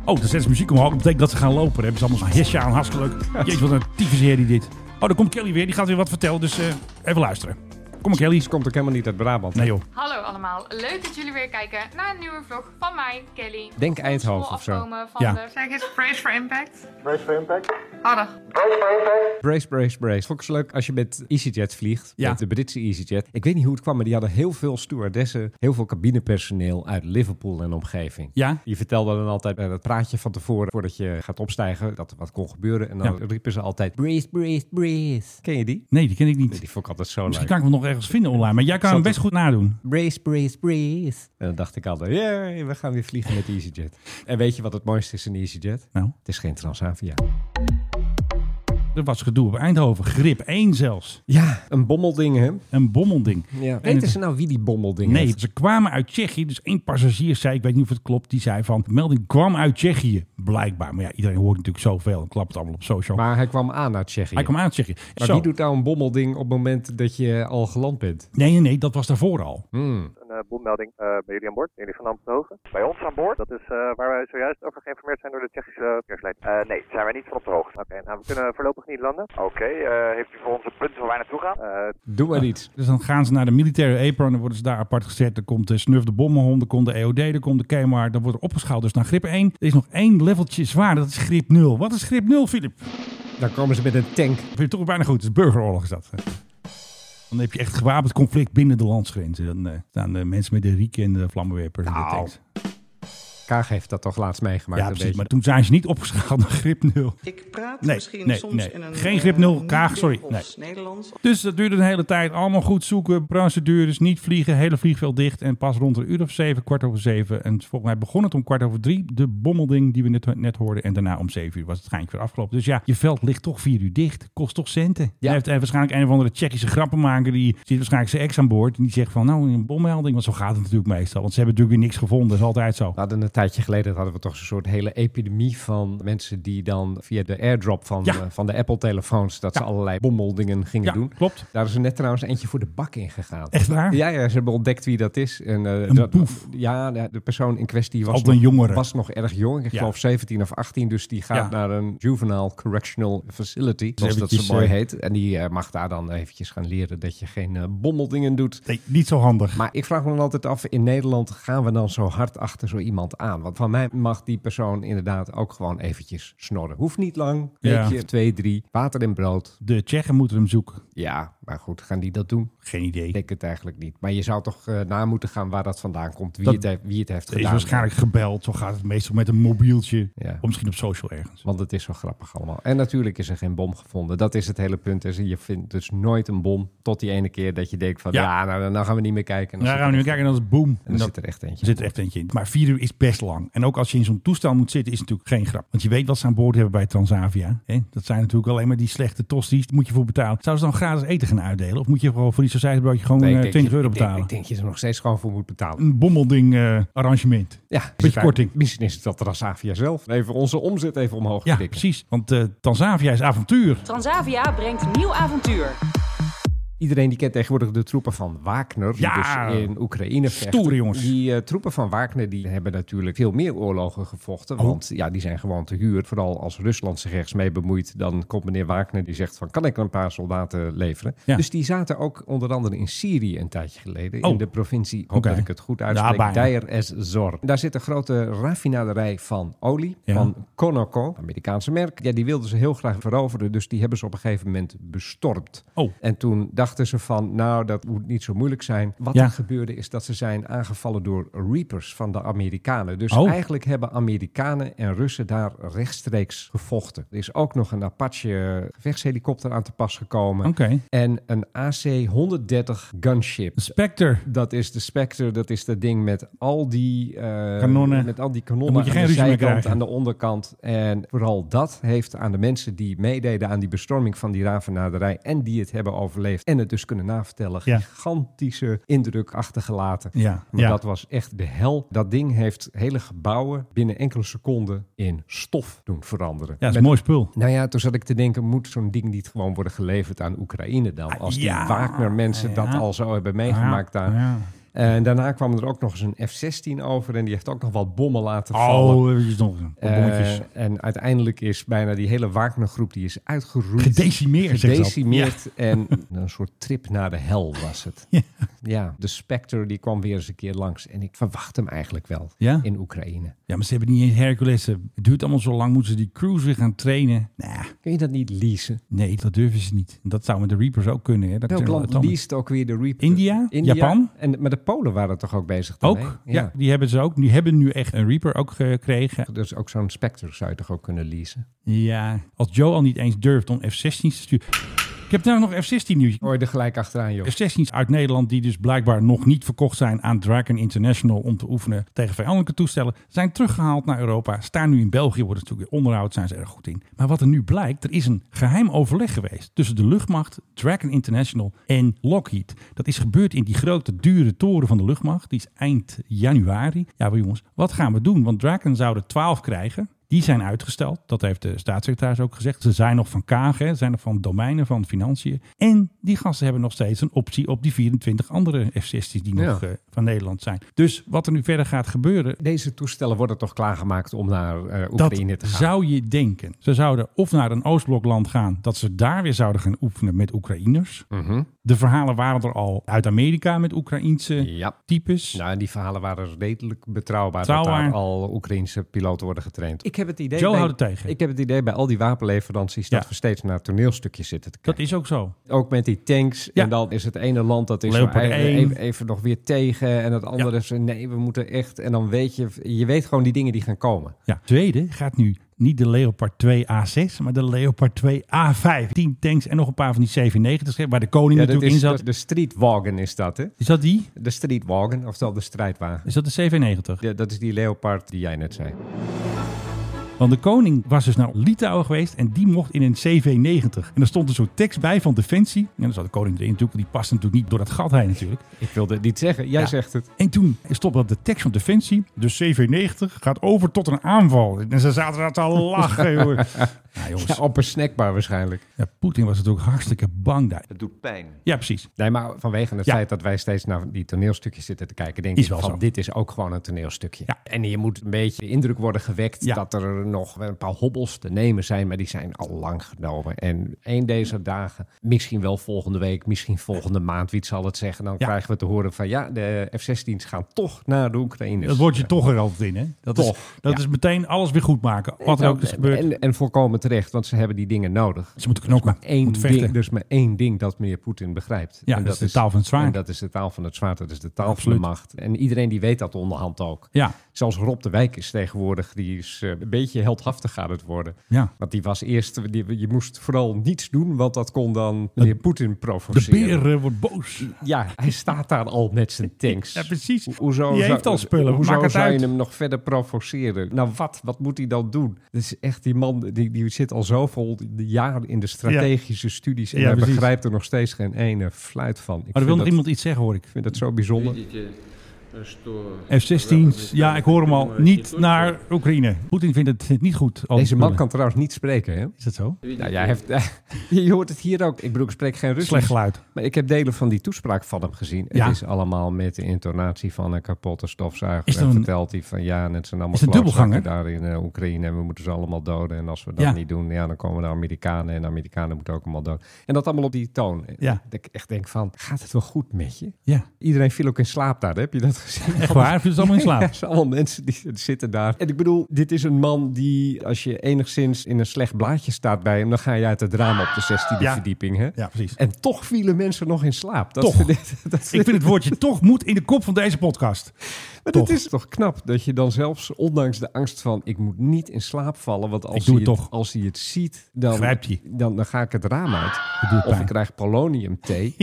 Speaker 4: Oh, dan zetten ze muziek omhoog. Dat betekent dat ze gaan lopen. Dan hebben ze allemaal zo'n hesje aan. Hartstikke leuk. Jeetje, wat een tyfus herrie dit. Oh, daar komt Kelly weer. Die gaat weer wat vertellen. Dus eh, even luisteren. Kom maar, Kelly.
Speaker 5: Ze komt ook helemaal niet uit Brabant.
Speaker 4: Nee, joh.
Speaker 2: Hallo allemaal, leuk dat jullie weer kijken naar een nieuwe vlog van mij, Kelly.
Speaker 5: Denk Eindhoven of zo.
Speaker 2: Afkomen Van
Speaker 4: Ja.
Speaker 2: de... Zeg eens Praise for Impact.
Speaker 7: Brace for impact.
Speaker 2: Harder.
Speaker 7: Brace for impact.
Speaker 5: Brace, brace, brace. Vond ik zo leuk als je met EasyJet vliegt.
Speaker 4: Ja.
Speaker 5: Met de Britse EasyJet. Ik weet niet hoe het kwam, maar die hadden heel veel stewardessen. Heel veel cabinepersoneel uit Liverpool en omgeving.
Speaker 4: Ja?
Speaker 5: Die vertelden dan altijd eh, dat praatje van tevoren, voordat je gaat opstijgen, dat er wat kon gebeuren. En dan
Speaker 4: Ja.
Speaker 5: riepen ze altijd, breathe, breathe, breathe. Ken je die?
Speaker 4: Nee, die ken ik niet.
Speaker 5: Die vond ik altijd zo
Speaker 4: Misschien kan
Speaker 5: leuk.
Speaker 4: ik hem nog ergens vinden online. Maar jij kan hem best goed nadoen.
Speaker 5: Brace, brace, brace. En dan dacht ik altijd, yeah, we gaan weer vliegen met EasyJet. En weet je wat het mooiste is in EasyJet?
Speaker 4: Nou,
Speaker 5: Het is geen Transavia.
Speaker 4: er was gedoe op Eindhoven. Grip 1 zelfs.
Speaker 5: Ja, een bommelding, hè?
Speaker 4: Een bommelding.
Speaker 5: Ja.
Speaker 4: En
Speaker 5: Weten
Speaker 4: het-
Speaker 5: ze nou wie die bommelding
Speaker 4: Nee,
Speaker 5: heeft?
Speaker 4: ze kwamen uit Tsjechië. Dus één passagier zei, ik weet niet of het klopt, die zei van... De melding kwam uit Tsjechië, blijkbaar. Maar ja, iedereen hoort natuurlijk zoveel en klapt het allemaal op social.
Speaker 5: Maar hij kwam aan uit Tsjechië.
Speaker 4: Hij kwam uit Tsjechië.
Speaker 5: Maar
Speaker 4: Zo.
Speaker 5: wie doet nou een bommelding op het moment dat je al geland bent?
Speaker 4: Nee, nee, nee, dat was daarvoor al.
Speaker 5: Hmm.
Speaker 18: een eh, bommelding eh, bij jullie aan boord, jullie van Amsthoven. Bij ons aan boord? Dat is eh, waar wij zojuist over geïnformeerd zijn door de Tsjechische verkeersleiding.
Speaker 1: Eh, nee, zijn wij niet van op de hoogte.
Speaker 18: Oké, nou we kunnen voorlopig niet landen.
Speaker 1: Oké, eh, heeft u voor ons een punt waar wij naartoe gaan?
Speaker 18: Eh,
Speaker 5: Doe maar iets.
Speaker 4: Dus dan gaan ze naar de militaire E apron, dan worden ze daar apart gezet. Dan komt de Snuf de Bommenhond, dan komt de EOD, dan komt de Kmart. Dan wordt er opgeschaald dus naar grip 1. Er is nog één leveltje zwaar, dat is grip 0. Wat is grip 0, Filip?
Speaker 5: Dan komen ze met een tank.
Speaker 4: Vind je toch bijna goed, het is burgeroorlog is dat. Dan heb je echt gewapend conflict binnen de landsgrenzen. Dan eh, staan de mensen met de rieken en de vlammenwerpers en de
Speaker 5: Nou,
Speaker 4: tanks.
Speaker 5: Kaag heeft dat toch laatst meegemaakt
Speaker 4: Ja,
Speaker 5: een
Speaker 4: precies.
Speaker 5: beetje.
Speaker 4: Maar toen zijn ze niet opgeschaald naar grip 0.
Speaker 19: Ik praat
Speaker 4: Nee,
Speaker 19: misschien
Speaker 4: nee,
Speaker 19: soms
Speaker 4: nee.
Speaker 19: in een...
Speaker 4: Geen
Speaker 19: eh,
Speaker 4: grip nul,
Speaker 19: niet
Speaker 4: Kaag, sorry,
Speaker 19: Wim-Hofs Nederlands.
Speaker 4: Dus dat duurde een hele tijd. Allemaal goed zoeken, procedures, niet vliegen, hele vliegveld dicht. En pas rond een uur of zeven, kwart over zeven. En volgens mij begon het om kwart over drie, de bommelding die we net, net hoorden. En daarna om zeven uur was het geintje weer afgelopen. Dus ja, je veld ligt toch vier uur dicht. Kost toch centen. Ja. Heeft, heeft waarschijnlijk een of andere Tsjechische grappenmaker, die zit waarschijnlijk zijn ex aan boord. En die zegt van, nou, een bommelding. Want zo gaat het natuurlijk meestal. Want ze hebben natuurlijk weer niks gevonden. Dat is altijd zo.
Speaker 5: We hadden het tijdje geleden hadden we toch zo'n soort hele epidemie van mensen die dan via de airdrop van,
Speaker 4: Ja.
Speaker 5: eh, van de Apple-telefoons, dat ze allerlei bommeldingen gingen
Speaker 4: Ja,
Speaker 5: doen.
Speaker 4: klopt.
Speaker 5: Daar is er net trouwens eentje voor de bak in gegaan.
Speaker 4: Echt waar?
Speaker 5: Ja, ja ze hebben ontdekt wie dat is. En, eh,
Speaker 4: Een
Speaker 5: dat,
Speaker 4: boef.
Speaker 5: Ja, de de persoon in kwestie was,
Speaker 4: Altijd een
Speaker 5: nog-
Speaker 4: jongere.
Speaker 5: was nog erg jong. Ik
Speaker 4: Ja.
Speaker 5: geloof 17 of 18, dus die gaat
Speaker 4: Ja.
Speaker 5: naar een juvenile correctional facility, zoals dat
Speaker 4: eventjes,
Speaker 5: zo mooi
Speaker 4: eh,
Speaker 5: heet. En die eh, mag daar dan eventjes gaan leren dat je geen eh, bommeldingen doet.
Speaker 4: Nee, niet zo handig.
Speaker 5: Maar ik vraag me dan altijd af, in Nederland gaan we dan zo hard achter zo iemand aan? Want van mij mag die persoon inderdaad ook gewoon eventjes snorren. Hoeft niet lang,
Speaker 4: Ja.
Speaker 5: weekje, twee, drie, water en brood.
Speaker 4: De Tsjechen moeten hem zoeken.
Speaker 5: Ja, maar goed, gaan die dat doen?
Speaker 4: Geen idee.
Speaker 5: Ik denk het eigenlijk niet. Maar je zou toch eh, na moeten gaan waar dat vandaan komt, wie,
Speaker 4: Dat-
Speaker 5: het, heeft, wie het heeft
Speaker 4: Er is
Speaker 5: gedaan.
Speaker 4: waarschijnlijk gebeld. Zo gaat het meestal met een mobieltje.
Speaker 5: Ja.
Speaker 4: Of misschien op social ergens.
Speaker 5: Want het is zo grappig allemaal. En natuurlijk is er geen bom gevonden. Dat is het hele punt. Dus je vindt dus nooit een bom tot die ene keer dat je denkt van...
Speaker 4: Ja.
Speaker 5: Ja, nou, dan- dan gaan we niet meer kijken. En dan
Speaker 4: Daar
Speaker 5: zit
Speaker 4: gaan Nou, we
Speaker 5: er
Speaker 4: nu
Speaker 5: echt-
Speaker 4: kijken. En dat is boom.
Speaker 5: En dan
Speaker 4: Dat-
Speaker 5: zit er echt eentje.
Speaker 4: Er zit er echt eentje in. Maar vier uur is best lang. En ook als je in zo'n toestel moet zitten, is het natuurlijk geen grap. Want je weet wat ze aan boord hebben bij Transavia. Hè? Dat zijn natuurlijk alleen maar die slechte tosti's. Daar moet je voor betalen. Zouden ze dan gratis eten gaan uitdelen? Of moet je gewoon voor die societybroodje gewoon
Speaker 5: Nee, ik
Speaker 4: eh,
Speaker 5: denk
Speaker 4: 20
Speaker 5: je-
Speaker 4: euro
Speaker 5: ik denk-
Speaker 4: betalen?
Speaker 5: Ik denk je er nog steeds gewoon voor moet betalen.
Speaker 4: Een bommelding eh, arrangement.
Speaker 5: Ja,
Speaker 4: Beetje korting.
Speaker 5: Misschien is het dat Transavia zelf. Even onze omzet even omhoog
Speaker 4: Ja,
Speaker 5: tikken.
Speaker 4: precies. Want eh Transavia is avontuur.
Speaker 19: Transavia brengt nieuw avontuur.
Speaker 5: Iedereen die kent tegenwoordig de troepen van Wagner, die
Speaker 4: Ja.
Speaker 5: dus in Oekraïne vechten.
Speaker 4: Stoere jongens.
Speaker 5: Die eh, troepen van Wagner die hebben natuurlijk veel meer oorlogen gevochten.
Speaker 4: Oh.
Speaker 5: Want ja, die zijn gewoon te huur. Vooral als Rusland zich ergens mee bemoeit, dan komt meneer Wagner die zegt van... kan ik een paar soldaten leveren?
Speaker 4: Ja.
Speaker 5: Dus die zaten ook onder andere in Syrië een tijdje geleden.
Speaker 4: Oh.
Speaker 5: In de provincie, hoop
Speaker 4: Oké.
Speaker 5: dat ik het goed
Speaker 4: Ja,
Speaker 5: uitspreek,
Speaker 4: bijna.
Speaker 5: Deir ez-Zor. Daar zit een grote raffinaderij van olie,
Speaker 4: Ja.
Speaker 5: van Conoco, Amerikaanse merk. Ja, die wilden ze heel graag veroveren, dus die hebben ze op een gegeven moment bestormd.
Speaker 4: Oh.
Speaker 5: En toen dachten ze van, nou, dat moet niet zo moeilijk zijn. Wat
Speaker 4: Ja.
Speaker 5: er gebeurde is dat ze zijn aangevallen door Reapers van de Amerikanen. Dus
Speaker 4: Oh.
Speaker 5: eigenlijk hebben Amerikanen en Russen daar rechtstreeks gevochten. Er is ook nog een Apache gevechtshelikopter aan te pas gekomen.
Speaker 4: Oké.
Speaker 5: En een AC-130 gunship.
Speaker 4: Spectre.
Speaker 5: Dat is de Spectre, dat is dat ding met al die eh,
Speaker 4: Kanonnen.
Speaker 5: Met al die
Speaker 4: Dan
Speaker 5: kanonnen
Speaker 4: moet je geen
Speaker 5: aan de
Speaker 4: ruzie meer
Speaker 5: zijkant,
Speaker 4: krijgen.
Speaker 5: aan de onderkant. En vooral dat heeft aan de mensen die meededen aan die bestorming van die ravenaderij en die het hebben overleefd en het dus kunnen navertellen,
Speaker 4: Ja.
Speaker 5: gigantische indruk achtergelaten.
Speaker 4: Ja,
Speaker 5: Maar
Speaker 4: ja.
Speaker 5: dat was echt de hel. Dat ding heeft hele gebouwen binnen enkele seconden in stof doen veranderen.
Speaker 4: Ja, dat is
Speaker 5: Met-
Speaker 4: een mooi spul.
Speaker 5: nou ja, toen zat ik te denken, moet zo'n ding niet gewoon worden geleverd aan Oekraïne dan? Als die
Speaker 4: Ah, ja.
Speaker 5: Wagner mensen dat
Speaker 4: Ja.
Speaker 5: al zo hebben meegemaakt
Speaker 4: Ja,
Speaker 5: daar.
Speaker 4: ja.
Speaker 5: En daarna kwam er ook nog eens een F-16 over en die heeft ook nog wat bommen laten vallen.
Speaker 4: Oh, eventjes nog een paar
Speaker 5: Eh,
Speaker 4: bommetjes.
Speaker 5: en uiteindelijk is bijna die hele Wagner-groep die is uitgeroeid.
Speaker 4: Gedecimeerd, zegt dat.
Speaker 5: Gedecimeerd. En een soort trip naar de hel was het.
Speaker 4: Ja.
Speaker 5: Ja, de Spectre die kwam weer eens een keer langs. En ik verwacht hem eigenlijk wel
Speaker 4: Ja?
Speaker 5: in Oekraïne.
Speaker 4: Ja, maar ze hebben niet eens Hercules. Het duurt allemaal zo lang. Moeten ze die crews weer gaan trainen? Nah,
Speaker 5: Kun je dat niet leasen?
Speaker 4: nee, dat durven ze niet. Dat zou met de Reapers ook kunnen. Hè? Dat
Speaker 5: Welk
Speaker 4: kunnen we
Speaker 5: land
Speaker 4: dan-
Speaker 5: leest ook weer de Reaper?
Speaker 4: India? Japan?
Speaker 5: En, maar de Polen waren toch ook bezig
Speaker 4: Ook?
Speaker 5: daarmee?
Speaker 4: Ja. die hebben ze ook. Die hebben nu echt een Reaper ook gekregen.
Speaker 5: Dus ook zo'n Spectre zou je toch ook kunnen leasen?
Speaker 4: Ja, als Joe al niet eens durft om F-16's te sturen. Ik heb daar nog F-16 nieuws.
Speaker 5: Hoor je er gelijk achteraan, joh.
Speaker 4: F-16's uit Nederland die dus blijkbaar nog niet verkocht zijn aan Draken International om te oefenen tegen vijandelijke toestellen, zijn teruggehaald naar Europa, staan nu in België, worden natuurlijk weer onderhoud, zijn ze erg goed in. Maar wat er nu blijkt, er is een geheim overleg geweest tussen de luchtmacht, Draken International en Lockheed. Dat is gebeurd in die grote dure toren van de luchtmacht, die is eind januari. Ja, maar jongens, wat gaan we doen? Want Draken zou er 12 krijgen. Die zijn uitgesteld. Dat heeft de staatssecretaris ook gezegd. Ze zijn nog van Kagen, hè, zijn nog van domeinen, van financiën. En die gasten hebben nog steeds een optie op die 24 andere F-16's die nog
Speaker 5: Ja.
Speaker 4: eh, van Nederland zijn. Dus wat er nu verder gaat gebeuren,
Speaker 5: Deze toestellen worden toch klaargemaakt om naar eh,
Speaker 4: dat
Speaker 5: Oekraïne te gaan?
Speaker 4: zou je denken. Ze zouden of naar een Oostblokland gaan, dat ze daar weer zouden gaan oefenen met Oekraïners.
Speaker 5: Mhm.
Speaker 4: De verhalen waren er al uit Amerika met Oekraïense
Speaker 5: Ja.
Speaker 4: types.
Speaker 5: Nou, en die verhalen waren redelijk betrouwbaar. Dat
Speaker 4: Betrouwbaar.
Speaker 5: daar al Oekraïense piloten worden getraind. Ik heb het idee...
Speaker 4: Joe
Speaker 5: bij,
Speaker 4: houdt het tegen.
Speaker 5: Ik heb het idee bij al die wapenleveranties
Speaker 4: Ja.
Speaker 5: dat we steeds naar toneelstukjes zitten te
Speaker 4: Dat is ook zo.
Speaker 5: Ook met die tanks.
Speaker 4: Ja.
Speaker 5: En dan is het ene land dat is
Speaker 4: Leopard
Speaker 5: maar even,
Speaker 4: 1.
Speaker 5: even, even nog weer tegen. En het andere is nee, we moeten echt. En dan weet je, je weet gewoon die dingen die gaan komen.
Speaker 4: Ja, Zweden gaat nu niet de Leopard 2 A6, maar de Leopard 2 A5. 10 tanks en nog een paar van die 97's, hè, waar de koning
Speaker 5: Ja, dat
Speaker 4: natuurlijk
Speaker 5: is,
Speaker 4: in zat.
Speaker 5: dat- de streetwagen is dat, hè?
Speaker 4: Is dat die?
Speaker 5: De streetwagen, oftewel de strijdwagen.
Speaker 4: Is dat de CV90?
Speaker 5: Ja, dat is die leopard die jij net zei.
Speaker 4: Want de koning was dus naar Litouwen geweest en die mocht in een CV90. En er stond een soort tekst bij van Defensie. En dan zat de koning erin natuurlijk, want die past natuurlijk niet door dat gat heen natuurlijk.
Speaker 5: Ik wilde het niet zeggen, jij
Speaker 4: Ja.
Speaker 5: zegt het.
Speaker 4: En toen stond op de tekst van Defensie, de CV90 gaat over tot een aanval. En ze zaten daar te lachen, joh. Ja, jongens.
Speaker 5: Ja, op een snackbar waarschijnlijk.
Speaker 4: Ja, Poetin was natuurlijk hartstikke bang daar.
Speaker 5: Het doet pijn.
Speaker 4: Ja, precies.
Speaker 5: Nee, maar vanwege het
Speaker 4: Ja.
Speaker 5: feit dat wij steeds naar die toneelstukjes zitten te kijken, denk
Speaker 4: Is
Speaker 5: ik
Speaker 4: wel
Speaker 5: van
Speaker 4: zo.
Speaker 5: dit is ook gewoon een toneelstukje. En je moet een beetje de indruk worden gewekt dat er nog wel een paar hobbels te nemen zijn, maar die zijn al lang genomen. En één deze dagen, misschien wel volgende week, misschien volgende maand, wie het zal het zeggen, dan
Speaker 4: Ja.
Speaker 5: krijgen we te horen van ja, de F-16's gaan toch naar de Oekraïne.
Speaker 4: Dat word je toch er altijd in, hè? Dat,
Speaker 5: Toch,
Speaker 4: is, dat
Speaker 5: ja.
Speaker 4: is meteen alles weer goed maken. Wat er ook is gebeurd.
Speaker 5: Nou, En, en voorkomen terecht, want ze hebben die dingen nodig.
Speaker 4: Ze moeten knokken,
Speaker 5: Eén
Speaker 4: moeten vechten.
Speaker 5: ding, dus maar één ding dat meneer Poetin begrijpt.
Speaker 4: Ja,
Speaker 5: en
Speaker 4: dat is de taal van het zwaard.
Speaker 5: En dat is de taal van het zwaard, dat is de taal
Speaker 4: Absoluut.
Speaker 5: van de macht. En iedereen die weet dat onderhand ook.
Speaker 4: Ja.
Speaker 5: Zelfs Rob de Wijk is tegenwoordig, die is eh, een beetje heldhaftig aan het worden.
Speaker 4: Ja.
Speaker 5: Want die was eerst, die, je moest vooral niets doen, want dat kon dan meneer Poetin provoceren.
Speaker 4: De beer eh, wordt boos.
Speaker 5: Ja, hij staat daar al met zijn tanks.
Speaker 4: Ja, precies.
Speaker 5: Hoezo
Speaker 4: Die
Speaker 5: zou-
Speaker 4: heeft al spullen,
Speaker 5: Hoezo
Speaker 4: maak het
Speaker 5: zou
Speaker 4: uit.
Speaker 5: je hem nog verder provoceren? Nou, wat? Wat moet hij dan doen? Dus echt, die man die, die zit al zoveel jaren in de strategische studies. En
Speaker 4: Ja,
Speaker 5: hij
Speaker 4: precies.
Speaker 5: begrijpt er nog steeds geen ene fluit van. Ik
Speaker 4: Maar er
Speaker 5: vind
Speaker 4: wil nog
Speaker 5: dat-
Speaker 4: iemand iets zeggen, hoor ik.
Speaker 5: Ik vind dat zo bijzonder.
Speaker 20: eh,
Speaker 4: F-16, ja, ik hoor hem al. Niet naar Oekraïne. Poetin vindt het niet goed. al die
Speaker 5: Deze man
Speaker 4: spullen.
Speaker 5: kan trouwens niet spreken, hè?
Speaker 4: Is dat zo?
Speaker 5: Nou, jij heeft, je hoort het hier ook. Ik bedoel, ik spreek geen Russisch.
Speaker 4: Slecht geluid.
Speaker 5: Maar ik heb delen van die toespraak van hem gezien.
Speaker 4: Ja.
Speaker 5: Het is allemaal met de intonatie van een kapotte stofzuiger.
Speaker 4: Is er
Speaker 5: en
Speaker 4: een-
Speaker 5: vertelt hij van ja, en het zijn allemaal
Speaker 4: Is het een dubbelganger?
Speaker 5: klootzakken daar in eh, Oekraïne. En we moeten ze allemaal doden. En als we dat
Speaker 4: Ja.
Speaker 5: niet doen, ja, dan komen de Amerikanen. En de Amerikanen moeten ook allemaal dood. En dat allemaal op die toon.
Speaker 4: Ja.
Speaker 5: Dat ik echt denk van, gaat het wel goed met je?
Speaker 4: Ja.
Speaker 5: Iedereen viel ook in slaap daar, hè? heb je dat gezien?
Speaker 4: Echt waar? Viel ze allemaal in slaap?
Speaker 5: Ja, het zijn allemaal mensen die zitten daar. En ik bedoel, dit is een man die, als je enigszins in een slecht blaadje staat bij hem, dan ga je uit het raam op de 16e
Speaker 4: Ja.
Speaker 5: verdieping. Hè?
Speaker 4: Ja, precies.
Speaker 5: En toch vielen mensen nog in slaap. Dat
Speaker 4: Toch.
Speaker 5: Vind ik, dat
Speaker 4: Ik vind het woordje toch moet in de kop van deze podcast.
Speaker 5: maar
Speaker 4: toch.
Speaker 5: het is toch knap dat je dan zelfs, ondanks de angst van ik moet niet in slaap vallen, want als,
Speaker 4: Ik doe
Speaker 5: hij,
Speaker 4: het toch.
Speaker 5: als hij het ziet, dan,
Speaker 4: Grijpt hij.
Speaker 5: dan, dan ga ik het raam uit.
Speaker 4: Het doet
Speaker 5: of
Speaker 4: pijn.
Speaker 5: ik krijg polonium thee.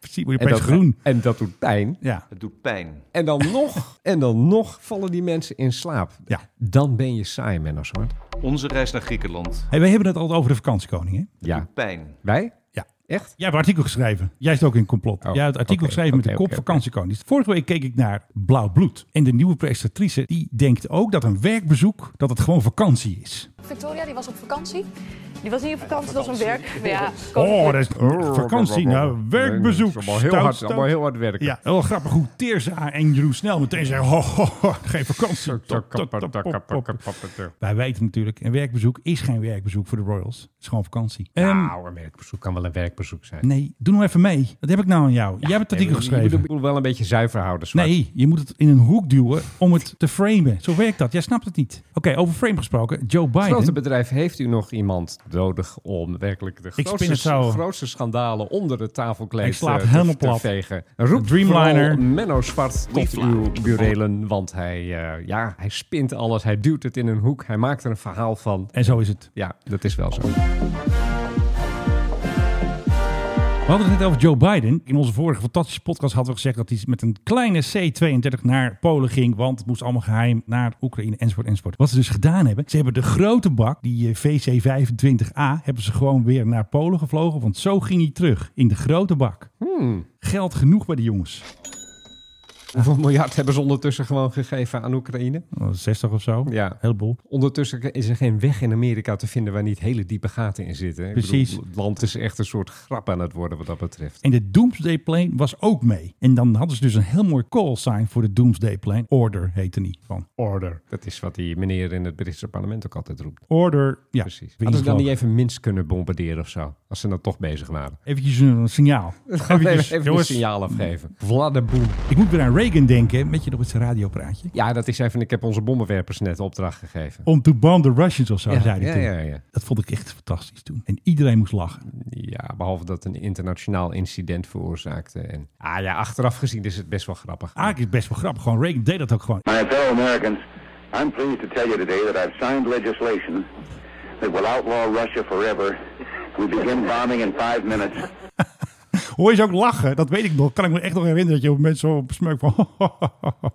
Speaker 4: Precies, word je
Speaker 5: en,
Speaker 4: opeens
Speaker 5: dat,
Speaker 4: groen.
Speaker 5: en dat doet pijn.
Speaker 4: Ja.
Speaker 5: Het doet pijn. En dan nog, en dan nog vallen die mensen in slaap.
Speaker 4: Ja.
Speaker 5: Dan ben je saai, Menno Zwart.
Speaker 20: Onze reis naar Griekenland.
Speaker 4: Hey, we hebben het altijd over de vakantiekoning, hè?
Speaker 5: Ja.
Speaker 20: Pijn.
Speaker 5: Wij?
Speaker 4: Ja.
Speaker 5: Echt?
Speaker 4: Jij hebt een artikel geschreven. Jij zit ook in complot.
Speaker 5: Oh,
Speaker 4: Jij hebt het artikel
Speaker 5: oké,
Speaker 4: geschreven met
Speaker 5: oké,
Speaker 4: de kop
Speaker 5: oké, oké.
Speaker 4: vakantiekoning. Vorige week keek ik naar Blauw Bloed. En de nieuwe presentatrice die denkt ook dat een werkbezoek dat het gewoon vakantie is.
Speaker 21: Victoria, die was op vakantie. Die was niet op vakantie, dat was een werk. Ja,
Speaker 4: Oh, dat is vakantie naar werkbezoek.
Speaker 5: Nee, het is allemaal heel
Speaker 4: Stout,
Speaker 5: hard-
Speaker 4: stout.
Speaker 5: allemaal heel hard werken.
Speaker 4: Ja, heel grappig hoe Teerza en Jeroen Snel meteen zeggen... Ho, ho, ho, geen vakantie. Top, top, top, top, top. Wij weten natuurlijk, een werkbezoek is geen werkbezoek voor de Royals. Het is gewoon vakantie. Ehm,
Speaker 5: Nou, een werkbezoek kan wel een werkbezoek zijn.
Speaker 4: nee, doe nou even mee. Wat heb ik nou aan jou? Jij hebt het
Speaker 5: Nee,
Speaker 4: artikel
Speaker 5: maar je
Speaker 4: geschreven.
Speaker 5: bedoelt- Ik bedoel wel een beetje zuiver houden. Zwart.
Speaker 4: Nee, je moet het in een hoek duwen om het te framen. Zo werkt dat. Jij snapt het niet. Oké, over frame gesproken. Joe
Speaker 5: Het grote
Speaker 4: Biden.
Speaker 5: bedrijf, heeft u nog iemand nodig om werkelijk de
Speaker 4: spin
Speaker 5: grootste,
Speaker 4: het zo.
Speaker 5: grootste schandalen onder de tafelkleed
Speaker 4: Ik sla het
Speaker 5: eh, te,
Speaker 4: helemaal
Speaker 5: te
Speaker 4: plat.
Speaker 5: vegen? Roep
Speaker 4: Dreamliner.
Speaker 5: Dreamliner. Menno Zwart tot uw burelen, want hij, eh, ja, hij spint alles, hij duwt het in een hoek, hij maakt er een verhaal van.
Speaker 4: En zo is het.
Speaker 5: Ja, dat is wel zo.
Speaker 4: We hadden het net over Joe Biden. In onze vorige fantastische podcast hadden we gezegd dat hij met een kleine C-32 naar Polen ging. Want het moest allemaal geheim naar Oekraïne enzovoort enzovoort. Wat ze dus gedaan hebben. Ze hebben de grote bak, die eh, VC-25A, hebben ze gewoon weer naar Polen gevlogen. Want zo ging hij terug. In de grote bak.
Speaker 5: Hmm.
Speaker 4: Geld genoeg bij de jongens.
Speaker 5: Hoeveel miljard hebben ze ondertussen gewoon gegeven aan Oekraïne?
Speaker 4: Oh, 60 of zo.
Speaker 5: Ja.
Speaker 4: Heleboel.
Speaker 5: Ondertussen is er geen weg in Amerika te vinden waar niet hele diepe gaten in zitten. Ik
Speaker 4: Precies.
Speaker 5: bedoel, het land is echt een soort grap aan het worden wat dat betreft.
Speaker 4: En de Doomsday Plane was ook mee. En dan hadden ze dus een heel mooi call sign voor de Doomsday Plane. Order heette die van. Order.
Speaker 5: Dat is wat die meneer in het Britse parlement ook altijd roept.
Speaker 4: Order. Ja,
Speaker 5: Precies.
Speaker 4: Weer
Speaker 5: Hadden ze dan niet
Speaker 4: ingevlogen.
Speaker 5: even Minsk kunnen bombarderen of zo? Als ze dan toch bezig waren.
Speaker 4: Eventjes een signaal.
Speaker 5: Gewoon
Speaker 4: Eventjes,
Speaker 5: even
Speaker 4: jongens.
Speaker 5: een signaal afgeven. Vladaboem.
Speaker 4: Ik moet weer aan Reagan denken. Weet je nog met zijn radiopraatje?
Speaker 5: Ja, dat is even... Ik heb onze bommenwerpers net opdracht gegeven.
Speaker 4: Om to bomb the Russians of zo,
Speaker 5: Ja,
Speaker 4: zei hij
Speaker 5: ja,
Speaker 4: toen.
Speaker 5: ja, ja.
Speaker 4: Dat vond ik echt fantastisch toen. En iedereen moest lachen.
Speaker 5: Ja, behalve dat een internationaal incident veroorzaakte. En, ah ja, achteraf gezien is het best wel grappig.
Speaker 4: Eigenlijk is het best wel grappig. Gewoon Reagan deed dat ook gewoon.
Speaker 9: My fellow Americans, I'm pleased to tell you today that I've signed legislation that will outlaw Russia forever. We begin bombing in five minutes.
Speaker 4: Hoor je ze ook lachen? Dat weet ik nog. Kan ik me echt nog herinneren dat je op een moment zo besmeukt van...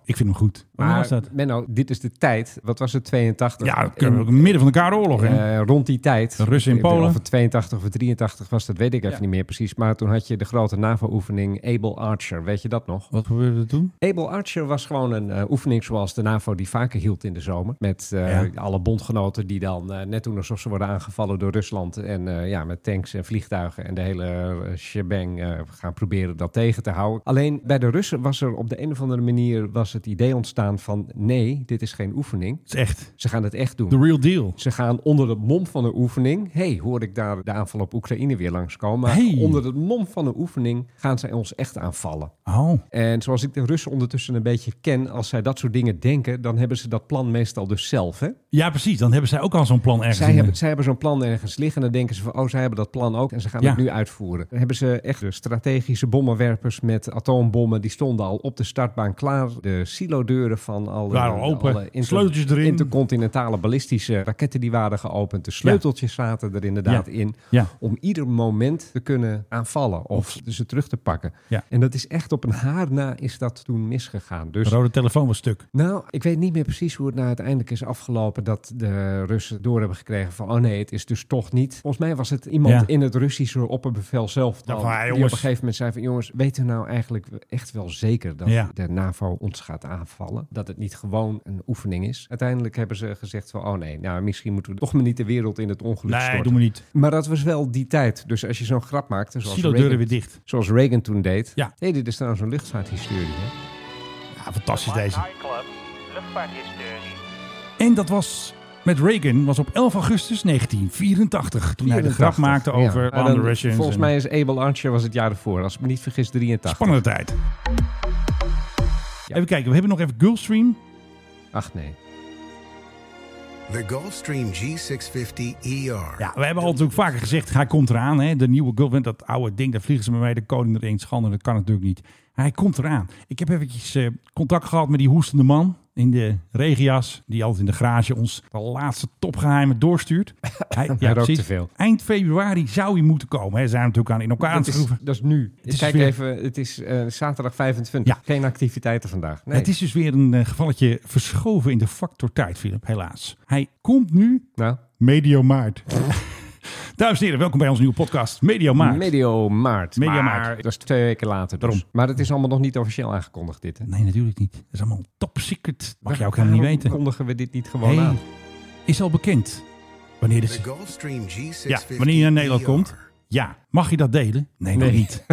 Speaker 4: ik vind hem goed. Waar was
Speaker 5: Maar
Speaker 4: dat?
Speaker 5: Menno, dit is de tijd. Wat was het, 82?
Speaker 4: Ja, dat kunnen we ook in het midden van de Koude Oorlog. hè?
Speaker 5: Eh, rond die tijd.
Speaker 4: De Russen in
Speaker 5: Ik bedoel,
Speaker 4: Polen.
Speaker 5: Of het 82 of 83 was, dat weet ik even
Speaker 4: Ja.
Speaker 5: niet meer precies. Maar toen had je de grote NAVO-oefening Able Archer. Weet je dat nog?
Speaker 4: Wat gebeurde er toen?
Speaker 5: Able Archer was gewoon een eh, oefening zoals de NAVO die vaker hield in de zomer. Met eh, alle bondgenoten die dan eh, net doen alsof ze worden aangevallen door Rusland. En eh, ja, met tanks en vliegtuigen en de hele eh, shebang eh, gaan proberen dat tegen te houden. Alleen bij de Russen was er op de een of andere manier was het idee ontstaan van nee, dit is geen oefening.
Speaker 4: Het is echt.
Speaker 5: Ze gaan het echt doen.
Speaker 4: The real deal.
Speaker 5: Ze gaan onder het mom van de oefening. hey, hoor ik daar de aanval op Oekraïne weer langskomen. Maar
Speaker 4: Hey.
Speaker 5: onder het mom van de oefening gaan zij ons echt aanvallen.
Speaker 4: Oh.
Speaker 5: En zoals ik de Russen ondertussen een beetje ken, als zij dat soort dingen denken, dan hebben ze dat plan meestal dus zelf. Hè?
Speaker 4: Ja, precies. Dan hebben zij ook al zo'n plan ergens.
Speaker 5: Zij,
Speaker 4: in de-
Speaker 5: hebben, zij hebben zo'n plan ergens liggen en dan denken ze van, oh, zij hebben dat plan ook en ze gaan
Speaker 4: Ja.
Speaker 5: het nu uitvoeren. Dan hebben ze echt de strategische bommenwerpers met atoombommen, die stonden al op de startbaan klaar. De silodeuren van alle,
Speaker 4: Waren al open.
Speaker 5: alle inter-
Speaker 4: Sleuteltjes erin.
Speaker 5: intercontinentale ballistische raketten die waren geopend. De sleuteltjes zaten er inderdaad
Speaker 4: Ja.
Speaker 5: in
Speaker 4: Ja.
Speaker 5: om ieder moment te kunnen aanvallen of ze terug te pakken.
Speaker 4: Ja.
Speaker 5: En dat is echt op een haar na is dat toen misgegaan. Dus
Speaker 4: De rode telefoon was stuk.
Speaker 5: nou, ik weet niet meer precies hoe het nou uiteindelijk is afgelopen dat de Russen door hebben gekregen van, oh nee, het is dus toch niet. Volgens mij was het iemand
Speaker 4: Ja.
Speaker 5: in het Russische opperbevel zelf dan,
Speaker 4: Ja, van, "Hey,
Speaker 5: die op
Speaker 4: jongens."
Speaker 5: een gegeven moment zei van, jongens, weten we nou eigenlijk echt wel zeker dat
Speaker 4: Ja.
Speaker 5: de NAVO ons gaat aanvallen? Dat het niet gewoon een oefening is? Uiteindelijk hebben ze gezegd van, oh nee, nou misschien moeten we toch maar niet de wereld in het ongeluk
Speaker 4: Nee,
Speaker 5: storten.
Speaker 4: doen we niet.
Speaker 5: Maar dat was wel die tijd. Dus als je zo'n grap maakte, zoals
Speaker 4: Silo deuren
Speaker 5: Reagan,
Speaker 4: weer dicht.
Speaker 5: zoals Reagan toen deed.
Speaker 4: Ja.
Speaker 5: hey, dit is trouwens een luchtvaarthistorie, hè?
Speaker 4: Ja, fantastisch deze.
Speaker 3: Club, luchtvaarthistorie.
Speaker 4: En dat was met Reagan, was op 11 augustus 1984. Toen hij de grap
Speaker 5: 84,
Speaker 4: maakte
Speaker 5: ja.
Speaker 4: over
Speaker 5: Maar
Speaker 4: One
Speaker 5: dan-
Speaker 4: Russians.
Speaker 5: Volgens
Speaker 4: en-
Speaker 5: mij is Abel Archer was het jaar ervoor. Als ik me niet vergis, 83.
Speaker 4: Spannende tijd. Even kijken, we hebben nog even Gulfstream.
Speaker 5: Ach nee.
Speaker 22: The Gulfstream G650ER.
Speaker 4: Ja, we hebben al natuurlijk vaker gezegd, hij komt eraan. Hè? De nieuwe Gulfstream, dat oude ding, daar vliegen ze maar mee. De koning erin, schande, dat kan natuurlijk niet. Hij komt eraan. Ik heb eventjes eh, contact gehad met die hoestende man in de regias. Die altijd in de garage ons de laatste topgeheimen doorstuurt. Hij, ja,
Speaker 5: rookt
Speaker 4: precies.
Speaker 5: te veel.
Speaker 4: Eind februari zou hij moeten komen. Hè? Ze zijn hem natuurlijk aan in elkaar aan
Speaker 5: Dat
Speaker 4: het
Speaker 5: is,
Speaker 4: schroeven.
Speaker 5: dat is nu.
Speaker 4: Het is
Speaker 5: Kijk
Speaker 4: weer-
Speaker 5: even, het is eh, zaterdag 25. Geen activiteiten vandaag. Nee.
Speaker 4: Het is dus weer een eh, gevalletje verschoven in de factor tijd, Philip, helaas. Hij komt nu
Speaker 5: nou,
Speaker 4: medio maart. Dames en heren, welkom bij onze nieuwe podcast Medio Maart.
Speaker 5: medio maart.
Speaker 4: Medio
Speaker 5: maar
Speaker 4: maart.
Speaker 5: Dat is twee weken later dus.
Speaker 4: Daarom.
Speaker 5: Maar het is allemaal nog niet officieel aangekondigd dit. Hè?
Speaker 4: Nee, natuurlijk niet. Dat is allemaal top secret. Mag je ook
Speaker 5: Waarom
Speaker 4: helemaal niet weten.
Speaker 5: kondigen we dit niet gewoon
Speaker 4: Hey,
Speaker 5: aan?
Speaker 4: Is al bekend wanneer
Speaker 22: The
Speaker 4: dit...
Speaker 22: Gulfstream G650
Speaker 4: Ja, wanneer je naar Nederland
Speaker 22: ER.
Speaker 4: komt. Ja, mag je dat delen? Nee, nog
Speaker 5: Nee.
Speaker 4: niet.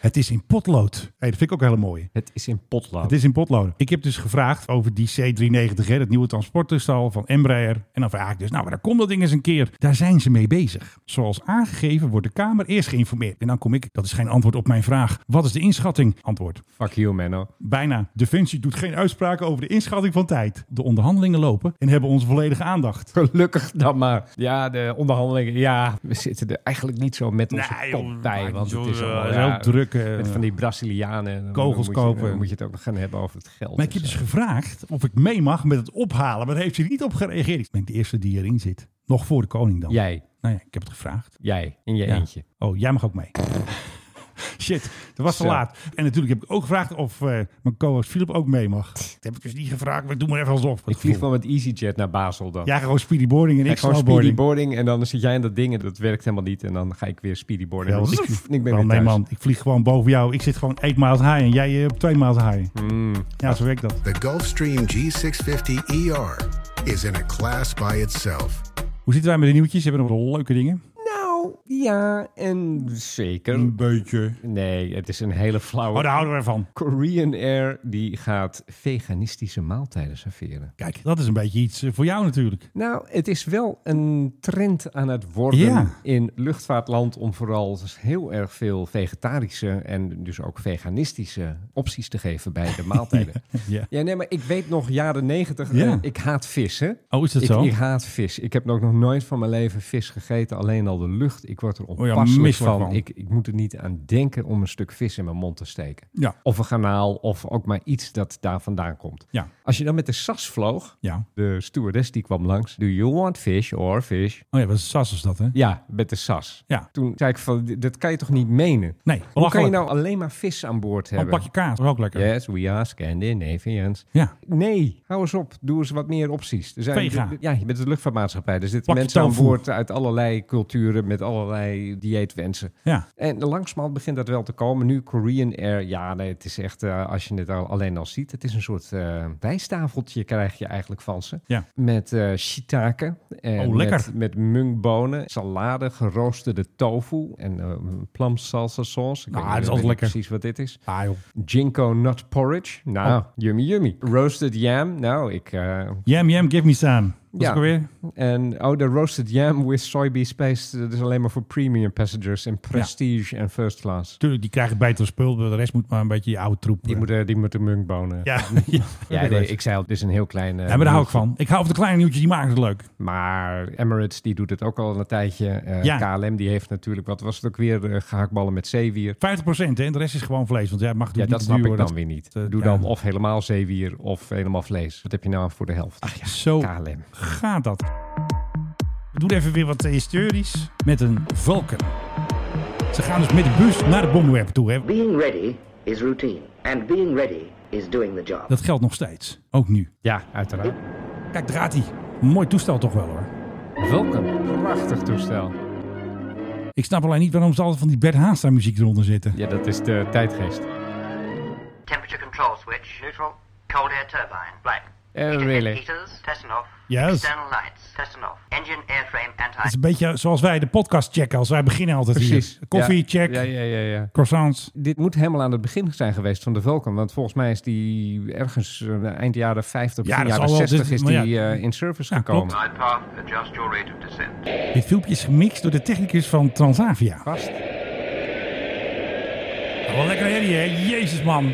Speaker 4: Het is in potlood. Hey, dat vind ik ook een hele mooie.
Speaker 5: Het is in potlood.
Speaker 4: Het is in potloden. Ik heb dus gevraagd over die C390, hè, dat nieuwe transporttoestel van Embraer. En dan vraag ik dus, nou, maar daar komt dat ding eens een keer. Daar zijn ze mee bezig. Zoals aangegeven wordt de Kamer eerst geïnformeerd. En dan kom ik, dat is geen antwoord op mijn vraag. Wat is de inschatting? Antwoord.
Speaker 5: Fuck you, Menno.
Speaker 4: Bijna. Defensie doet geen uitspraken over de inschatting van tijd. De onderhandelingen lopen en hebben onze volledige aandacht.
Speaker 5: Gelukkig dan maar. Ja, de onderhandelingen. Ja, we zitten er eigenlijk niet zo met onze
Speaker 4: Nee, joh,
Speaker 5: kop bij. Want het is
Speaker 4: joh,
Speaker 5: allemaal,
Speaker 4: is heel
Speaker 5: ja,
Speaker 4: druk, eh,
Speaker 5: met van die Brazilianen. Dan
Speaker 4: kogels
Speaker 5: moet je- dan
Speaker 4: kopen.
Speaker 5: moet je het ook nog gaan hebben over het geld. eh,
Speaker 4: Maar ik
Speaker 5: en
Speaker 4: heb dus
Speaker 5: zo.
Speaker 4: gevraagd of ik mee mag met het ophalen. Maar daar heeft hij niet op gereageerd. Ik ben de eerste die erin zit. Nog voor de koning dan.
Speaker 5: Jij,
Speaker 4: Nou ja, ik heb het gevraagd.
Speaker 5: jij, in je
Speaker 4: Ja.
Speaker 5: eentje.
Speaker 4: Oh, jij mag ook mee. Shit, dat was te
Speaker 5: Zo.
Speaker 4: laat. En natuurlijk heb ik ook gevraagd of eh, mijn co-host Philip ook mee mag. Dat heb ik dus niet gevraagd, maar doe maar even alsof.
Speaker 5: Ik vlieg wel met EasyJet naar Basel dan.
Speaker 4: Jij gaat gewoon speedyboarding en
Speaker 5: Ik
Speaker 4: ik
Speaker 5: gewoon
Speaker 4: snowboarding.
Speaker 5: speedyboarding en dan zit jij in dat ding en dat werkt helemaal niet. En dan ga ik weer speedyboarden.
Speaker 4: Ja, want
Speaker 5: en
Speaker 4: ik,
Speaker 5: zoef, en ik
Speaker 4: wel,
Speaker 5: ben weer
Speaker 4: nee,
Speaker 5: thuis.
Speaker 4: man, ik vlieg gewoon boven jou. Ik zit gewoon 8 miles high en jij eh, op 2 miles high.
Speaker 5: Hmm.
Speaker 4: Ja, zo werkt dat.
Speaker 22: The Gulfstream G650ER is in a class by itself.
Speaker 4: Hoe zitten wij met de nieuwtjes? Hebben we nog wel leuke dingen?
Speaker 5: Nou, ja, en zeker.
Speaker 4: Een beetje.
Speaker 5: Nee, het is een hele flauwe...
Speaker 4: Oh, daar houden we van.
Speaker 5: Korean Air die gaat veganistische maaltijden serveren.
Speaker 4: Kijk, dat is een beetje iets eh, voor jou natuurlijk.
Speaker 5: Nou, het is wel een trend aan het worden
Speaker 4: Ja.
Speaker 5: in luchtvaartland om vooral dus heel erg veel vegetarische en dus ook veganistische opties te geven bij de maaltijden.
Speaker 4: Ja.
Speaker 5: Ja, nee, maar ik weet nog jaren negentig, eh,
Speaker 4: Ja.
Speaker 5: ik haat vis, hè?
Speaker 4: Oh, is dat
Speaker 5: ik,
Speaker 4: zo?
Speaker 5: Ik haat vis. Ik heb ook nog nooit van mijn leven vis gegeten, alleen al de lucht. Ik Ik word er
Speaker 4: Oh ja,
Speaker 5: onpasselijk
Speaker 4: misselijk
Speaker 5: van.
Speaker 4: van.
Speaker 5: Ik, ik moet er niet aan denken om een stuk vis in mijn mond te steken.
Speaker 4: Ja.
Speaker 5: Of een kanaal, of ook maar iets dat daar vandaan komt.
Speaker 4: Ja.
Speaker 5: Als je dan met de SAS vloog,
Speaker 4: Ja.
Speaker 5: de stewardess die kwam langs. Do you want fish or fish?
Speaker 4: Oh ja, wat is SAS is dat, hè?
Speaker 5: Ja, met de SAS.
Speaker 4: Ja.
Speaker 5: Toen zei ik van, dit- dat kan je toch niet menen?
Speaker 4: Nee,
Speaker 5: Hoe kan je
Speaker 4: belachelijk.
Speaker 5: nou alleen maar vis aan boord
Speaker 4: Een
Speaker 5: hebben?
Speaker 4: pakje kaas, ook lekker.
Speaker 5: Yes, we are Scandinavians.
Speaker 4: Ja.
Speaker 5: Nee, hou eens op. Doe eens wat meer opties. Er
Speaker 4: Vega.
Speaker 5: Ja, je bent een luchtvaartmaatschappij. Er zitten
Speaker 4: Plakje
Speaker 5: mensen aan
Speaker 4: tofu.
Speaker 5: boord uit allerlei culturen met allerlei dieetwensen.
Speaker 4: Ja.
Speaker 5: En langzamerhand begint dat wel te komen. Nu Korean Air, ja, nee, het is echt, eh, als je het al, alleen al ziet, het is een soort eh rijstafeltje krijg je eigenlijk van ze.
Speaker 4: Ja.
Speaker 5: Met eh shiitake. En
Speaker 4: Oh, lekker.
Speaker 5: Met, met mungbonen, salade, geroosterde tofu en eh plum salsa sauce. Ik
Speaker 4: Ah,
Speaker 5: weet
Speaker 4: dat is altijd
Speaker 5: niet- weet niet
Speaker 4: lekker.
Speaker 5: precies wat dit is.
Speaker 4: Ah, joh.
Speaker 5: Ginkgo nut porridge. Nou,
Speaker 4: Oh.
Speaker 5: yummy yummy. Roasted yam. Nou, ik... eh,
Speaker 4: Jam, jam, give me some. Dat is
Speaker 5: ja.
Speaker 4: ook alweer.
Speaker 5: En oh, de roasted yam with soybean paste. Dat is alleen maar voor premium passengers en prestige en first class.
Speaker 4: Tuurlijk, die krijgen beter spul, maar de rest moet maar een beetje je oude troep.
Speaker 5: Die
Speaker 4: eh.
Speaker 5: moeten die moeten munkbonen.
Speaker 4: Ja.
Speaker 5: Ja, nee, ik zei al, dit is een heel klein... eh,
Speaker 4: Ja, maar daar hou ik
Speaker 5: nieuwtje.
Speaker 4: van. Ik hou van de kleine nieuwtjes, die maken het leuk.
Speaker 5: Maar Emirates die doet het ook al een tijdje. Eh,
Speaker 4: Ja.
Speaker 5: KLM die heeft natuurlijk, wat was het ook weer, eh, gehaktballen met zeewier.
Speaker 4: 50 procent, hè? En de rest is gewoon vlees. Want jij mag
Speaker 5: Ja,
Speaker 4: natuurlijk
Speaker 5: dat
Speaker 4: niet
Speaker 5: snap ik
Speaker 4: duwen,
Speaker 5: dan
Speaker 4: dat-
Speaker 5: weer niet.
Speaker 4: eh,
Speaker 5: Doe
Speaker 4: ja.
Speaker 5: dan of helemaal zeewier of helemaal vlees. Wat heb je nou voor de helft? Ach ja,
Speaker 4: Ah, Zo
Speaker 5: KLM.
Speaker 4: gaat dat. We doen even weer wat eh, historisch met een Vulcan. Ze gaan dus met de bus naar de bommenwerper toe. Hè?
Speaker 6: Being ready is routine, and being ready is doing the job.
Speaker 4: Dat geldt nog steeds. Ook nu.
Speaker 5: Ja, uiteraard.
Speaker 4: Kijk, daar gaat hij. Mooi toestel toch wel hoor.
Speaker 5: Welkom. Prachtig toestel.
Speaker 4: Ik snap alleen niet waarom ze altijd van die Bert Haasta muziek eronder zitten.
Speaker 5: Ja, dat is de tijdgeest.
Speaker 6: Temperature control switch, neutral. Cold air turbine, black.
Speaker 5: Eh,
Speaker 6: Really?
Speaker 5: really.
Speaker 6: Heaters, testing off.
Speaker 4: Yes.
Speaker 6: External lights, testing off. Engine airframe
Speaker 4: Het
Speaker 6: anti.
Speaker 4: is een beetje zoals wij de podcast checken. Als wij beginnen altijd
Speaker 5: Precies.
Speaker 4: hier. Koffie,
Speaker 5: Ja.
Speaker 4: check.
Speaker 5: Ja, ja, ja, ja.
Speaker 4: Croissants.
Speaker 5: Dit moet helemaal aan het begin zijn geweest van de Vulcan. Want volgens mij is die ergens eh, eind jaren 50,
Speaker 4: Ja,
Speaker 5: begin
Speaker 4: dat zal
Speaker 5: jaren
Speaker 4: wel
Speaker 5: 60
Speaker 4: dit-
Speaker 5: is
Speaker 4: maar
Speaker 5: die
Speaker 4: ja.
Speaker 5: eh, in service
Speaker 4: Ja,
Speaker 5: gekomen.
Speaker 4: klopt.
Speaker 6: path, adjust your rate of descent.
Speaker 4: Dit filmpje is gemixt door de technicus van Transavia.
Speaker 5: Gast.
Speaker 4: Wel lekker herrie, hè? Jezus, man.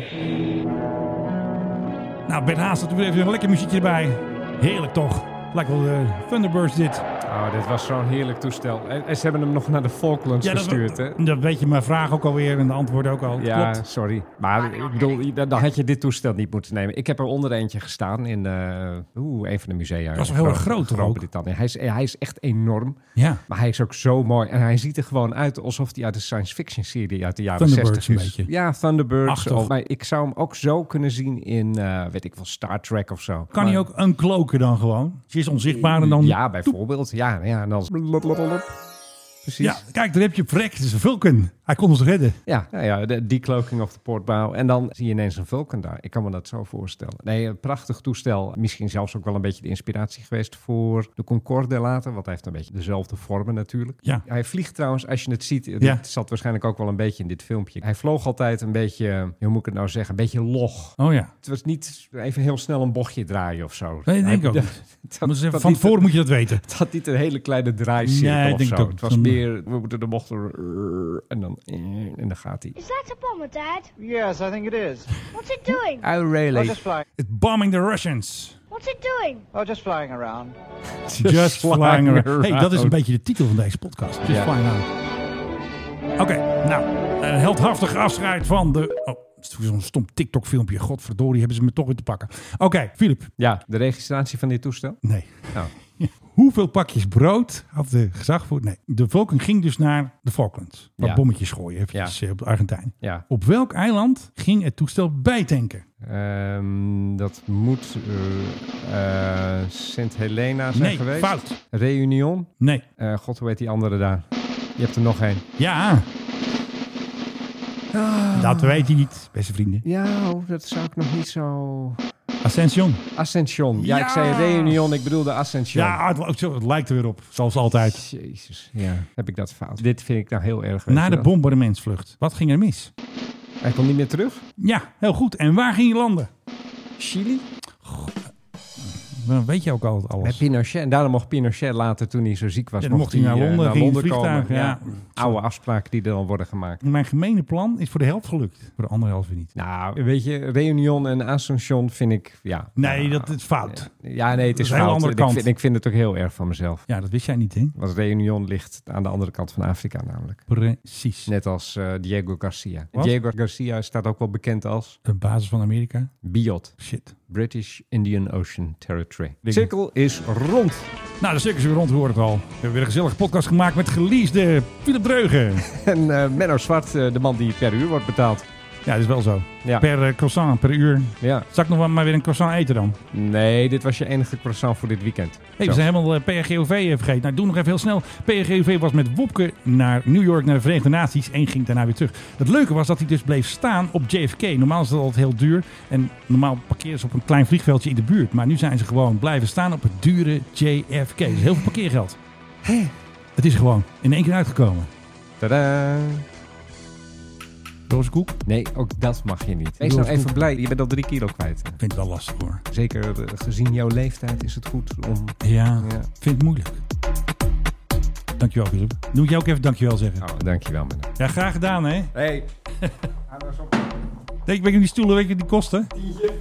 Speaker 4: Nou, Bert Haas had er weer even een lekker muziekje erbij. Heerlijk, toch? Lijkt wel de Thunderbirds dit.
Speaker 5: Oh, dit was zo'n heerlijk toestel. En, en ze hebben hem nog naar de Falklands
Speaker 4: Ja, dat-
Speaker 5: gestuurd, hè?
Speaker 4: Dat weet je mijn vraag ook alweer en de antwoorden ook al.
Speaker 5: Ja,
Speaker 4: Klopt.
Speaker 5: sorry. Maar ik bedoel, dan, dan had je dit toestel niet moeten nemen. Ik heb er onder eentje gestaan in eh oeh, een van de musea.
Speaker 4: was wel heel erg groot, toch ook?
Speaker 5: Groot-Brittannië. Hij is, hij is echt enorm.
Speaker 4: Ja.
Speaker 5: Maar hij is ook zo mooi. En hij ziet er gewoon uit alsof hij uit de science fiction serie uit de jaren
Speaker 4: Thunderbirds
Speaker 5: 60 is.
Speaker 4: een beetje.
Speaker 5: Ja, Thunderbirds.
Speaker 4: Achtig.
Speaker 5: Of, maar ik zou hem ook zo kunnen zien in, eh, weet ik wel, Star Trek of zo.
Speaker 4: Kan hij ook uncloaken dan gewoon? Ze is onzichtbaar en dan...
Speaker 5: Ja, bijvoorbeeld. Ja, ja en dan... Precies.
Speaker 4: Ja, kijk, daar heb je vrek. Het is een Vulcan. Hij kon ons redden.
Speaker 5: Ja, nou ja, de decloaking of de portbouw. En dan zie je ineens een Vulcan daar. Ik kan me dat zo voorstellen. Nee, een prachtig toestel. Misschien zelfs ook wel een beetje de inspiratie geweest voor de Concorde later. Want hij heeft een beetje dezelfde vormen natuurlijk.
Speaker 4: Ja.
Speaker 5: Hij vliegt trouwens, als je het ziet, het
Speaker 4: Ja.
Speaker 5: zat waarschijnlijk ook wel een beetje in dit filmpje. Hij vloog altijd een beetje, hoe moet ik het nou zeggen, een beetje log.
Speaker 4: Oh ja.
Speaker 5: Het was niet even heel snel een bochtje draaien of zo.
Speaker 4: Nee, ik denk
Speaker 5: Hij-
Speaker 4: ook niet.
Speaker 5: dat-
Speaker 4: Maar ze-
Speaker 5: dat
Speaker 4: van
Speaker 5: niet-
Speaker 4: tevoren moet je dat weten.
Speaker 5: Het had niet een hele kleine draaicirkel
Speaker 4: Nee, ik
Speaker 5: of
Speaker 4: denk
Speaker 5: zo.
Speaker 4: het ook.
Speaker 5: Het was
Speaker 4: Dan-
Speaker 5: meer, we moeten de bochten... En dan, en dan gaat hij.
Speaker 8: Is that a bomber, Dad?
Speaker 7: Yes, I think it is.
Speaker 8: What's it doing?
Speaker 5: Oh, really?
Speaker 7: Oh, just flying.
Speaker 4: It's bombing the Russians.
Speaker 8: What's it doing?
Speaker 7: Oh, just flying around.
Speaker 4: Just, flying around. Hey, dat is een beetje de titel van deze podcast. Just
Speaker 5: Ja.
Speaker 4: flying around. Oké, nou. Een heldhaftig afscheid van de... Oh, het is toch zo'n stom TikTok-filmpje. Godverdorie, hebben ze me toch weer te pakken. Oké, Filip.
Speaker 5: Ja, de registratie van dit toestel?
Speaker 4: Nee.
Speaker 5: Nou,
Speaker 4: Hoeveel pakjes brood had de gezagvoerder? Nee, de Vulcan ging dus naar de Falklands. Waar
Speaker 5: Ja.
Speaker 4: bommetjes gooien, eventjes
Speaker 5: Ja.
Speaker 4: eh, op de Argentijn.
Speaker 5: Ja.
Speaker 4: Op welk eiland ging het toestel bijtanken?
Speaker 5: ehm, dat moet eh, eh, Sint Helena zijn
Speaker 4: Nee,
Speaker 5: geweest.
Speaker 4: fout.
Speaker 5: Reunion?
Speaker 4: Nee.
Speaker 5: Eh, God, hoe heet die andere daar? Je hebt er nog één.
Speaker 4: Ja.
Speaker 5: Ah.
Speaker 4: Dat weet hij niet, beste vrienden.
Speaker 5: Ja, oh, dat zou ik nog niet zo...
Speaker 4: Ascension.
Speaker 5: Ascension. Ja, ik zei
Speaker 4: Ja.
Speaker 5: Reunion, ik bedoelde Ascension.
Speaker 4: Ja, het, het- het lijkt er weer op, zoals altijd.
Speaker 5: Jezus, ja. Heb ik dat fout? Dit vind ik nou heel erg. weet
Speaker 4: Na
Speaker 5: je
Speaker 4: de
Speaker 5: wel.
Speaker 4: bombardementsvlucht. Wat ging er mis?
Speaker 5: Hij komt niet meer terug?
Speaker 4: Ja, heel goed. En waar ging je landen?
Speaker 5: Chili?
Speaker 4: Dan weet je ook altijd alles.
Speaker 5: Met Pinochet. En daarom mocht Pinochet later, toen hij zo ziek was,
Speaker 4: Ja, dan mocht hij naar
Speaker 5: eh,
Speaker 4: Londen, ging in het vliegtuig,
Speaker 5: komen.
Speaker 4: ja.
Speaker 5: Oude afspraken die er dan worden gemaakt.
Speaker 4: Mijn gemene plan is voor de helft gelukt. Voor de andere helft weer niet.
Speaker 5: Nou, weet je, Reunion en Ascension vind ik, ja. Nou,
Speaker 4: Nee, dat is fout.
Speaker 5: Ja, nee, het is
Speaker 4: Dat een hele
Speaker 5: fout.
Speaker 4: andere
Speaker 5: En
Speaker 4: kant.
Speaker 5: Ik, vind, ik vind het ook heel erg van mezelf.
Speaker 4: Ja, dat wist jij niet, hè?
Speaker 5: Want Reunion ligt aan de andere kant van Afrika namelijk.
Speaker 4: Precies.
Speaker 5: Net als eh, Diego Garcia.
Speaker 4: Wat?
Speaker 5: Diego Garcia staat ook wel bekend als...
Speaker 4: De basis van Amerika.
Speaker 5: BIOT.
Speaker 4: Shit.
Speaker 5: British Indian Ocean Territory.
Speaker 4: Ding.
Speaker 5: Cirkel is rond.
Speaker 4: Nou, de circus is weer rond, hoor het al. We hebben weer een gezellige podcast gemaakt met geleasede Philip Dreugen.
Speaker 5: En eh, Menno Zwart, eh, de man die per uur wordt betaald.
Speaker 4: Ja, dat is wel zo.
Speaker 5: Ja.
Speaker 4: Per eh, croissant, per uur.
Speaker 5: Ja.
Speaker 4: Zal ik nog wel maar weer een croissant eten dan?
Speaker 5: Nee, dit was je enige croissant voor dit weekend.
Speaker 4: Hey,
Speaker 5: Zo.
Speaker 4: we zijn helemaal eh, PRGOV eh, vergeten. Nou, doe nog even heel snel. PRGOV was met Wopke naar New York, naar de Verenigde Naties en ging daarna weer terug. Het leuke was dat hij dus bleef staan op JFK. Normaal is dat altijd heel duur. En normaal parkeren ze op een klein vliegveldje in de buurt. Maar nu zijn ze gewoon blijven staan op het dure JFK. Dus heel veel parkeergeld. Het is gewoon in één keer uitgekomen.
Speaker 5: Tadaa.
Speaker 4: Roze koek?
Speaker 5: Nee, ook dat mag je niet. Wees
Speaker 4: Roze
Speaker 5: nou even
Speaker 4: koek.
Speaker 5: blij, je bent al drie kilo kwijt.
Speaker 4: Ik vind het wel lastig hoor.
Speaker 5: Zeker eh, gezien jouw leeftijd is het goed om...
Speaker 4: Ja, ik vind het moeilijk. Dankjewel Philip. Doe ik jou ook even dankjewel zeggen.
Speaker 5: Oh, dankjewel Menno.
Speaker 4: Ja, graag gedaan hè.
Speaker 5: Hey.
Speaker 4: Denk, weet je die stoelen, weet je die kosten?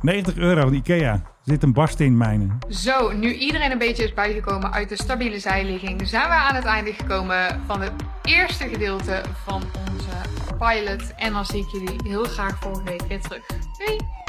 Speaker 4: 90 euro van Ikea. Er zit een barst in mijnen.
Speaker 2: Zo, nu iedereen een beetje is bijgekomen uit de stabiele zijligging, zijn we aan het einde gekomen van het eerste gedeelte van onze pilot. En dan zie ik jullie heel graag volgende week weer terug. Doei!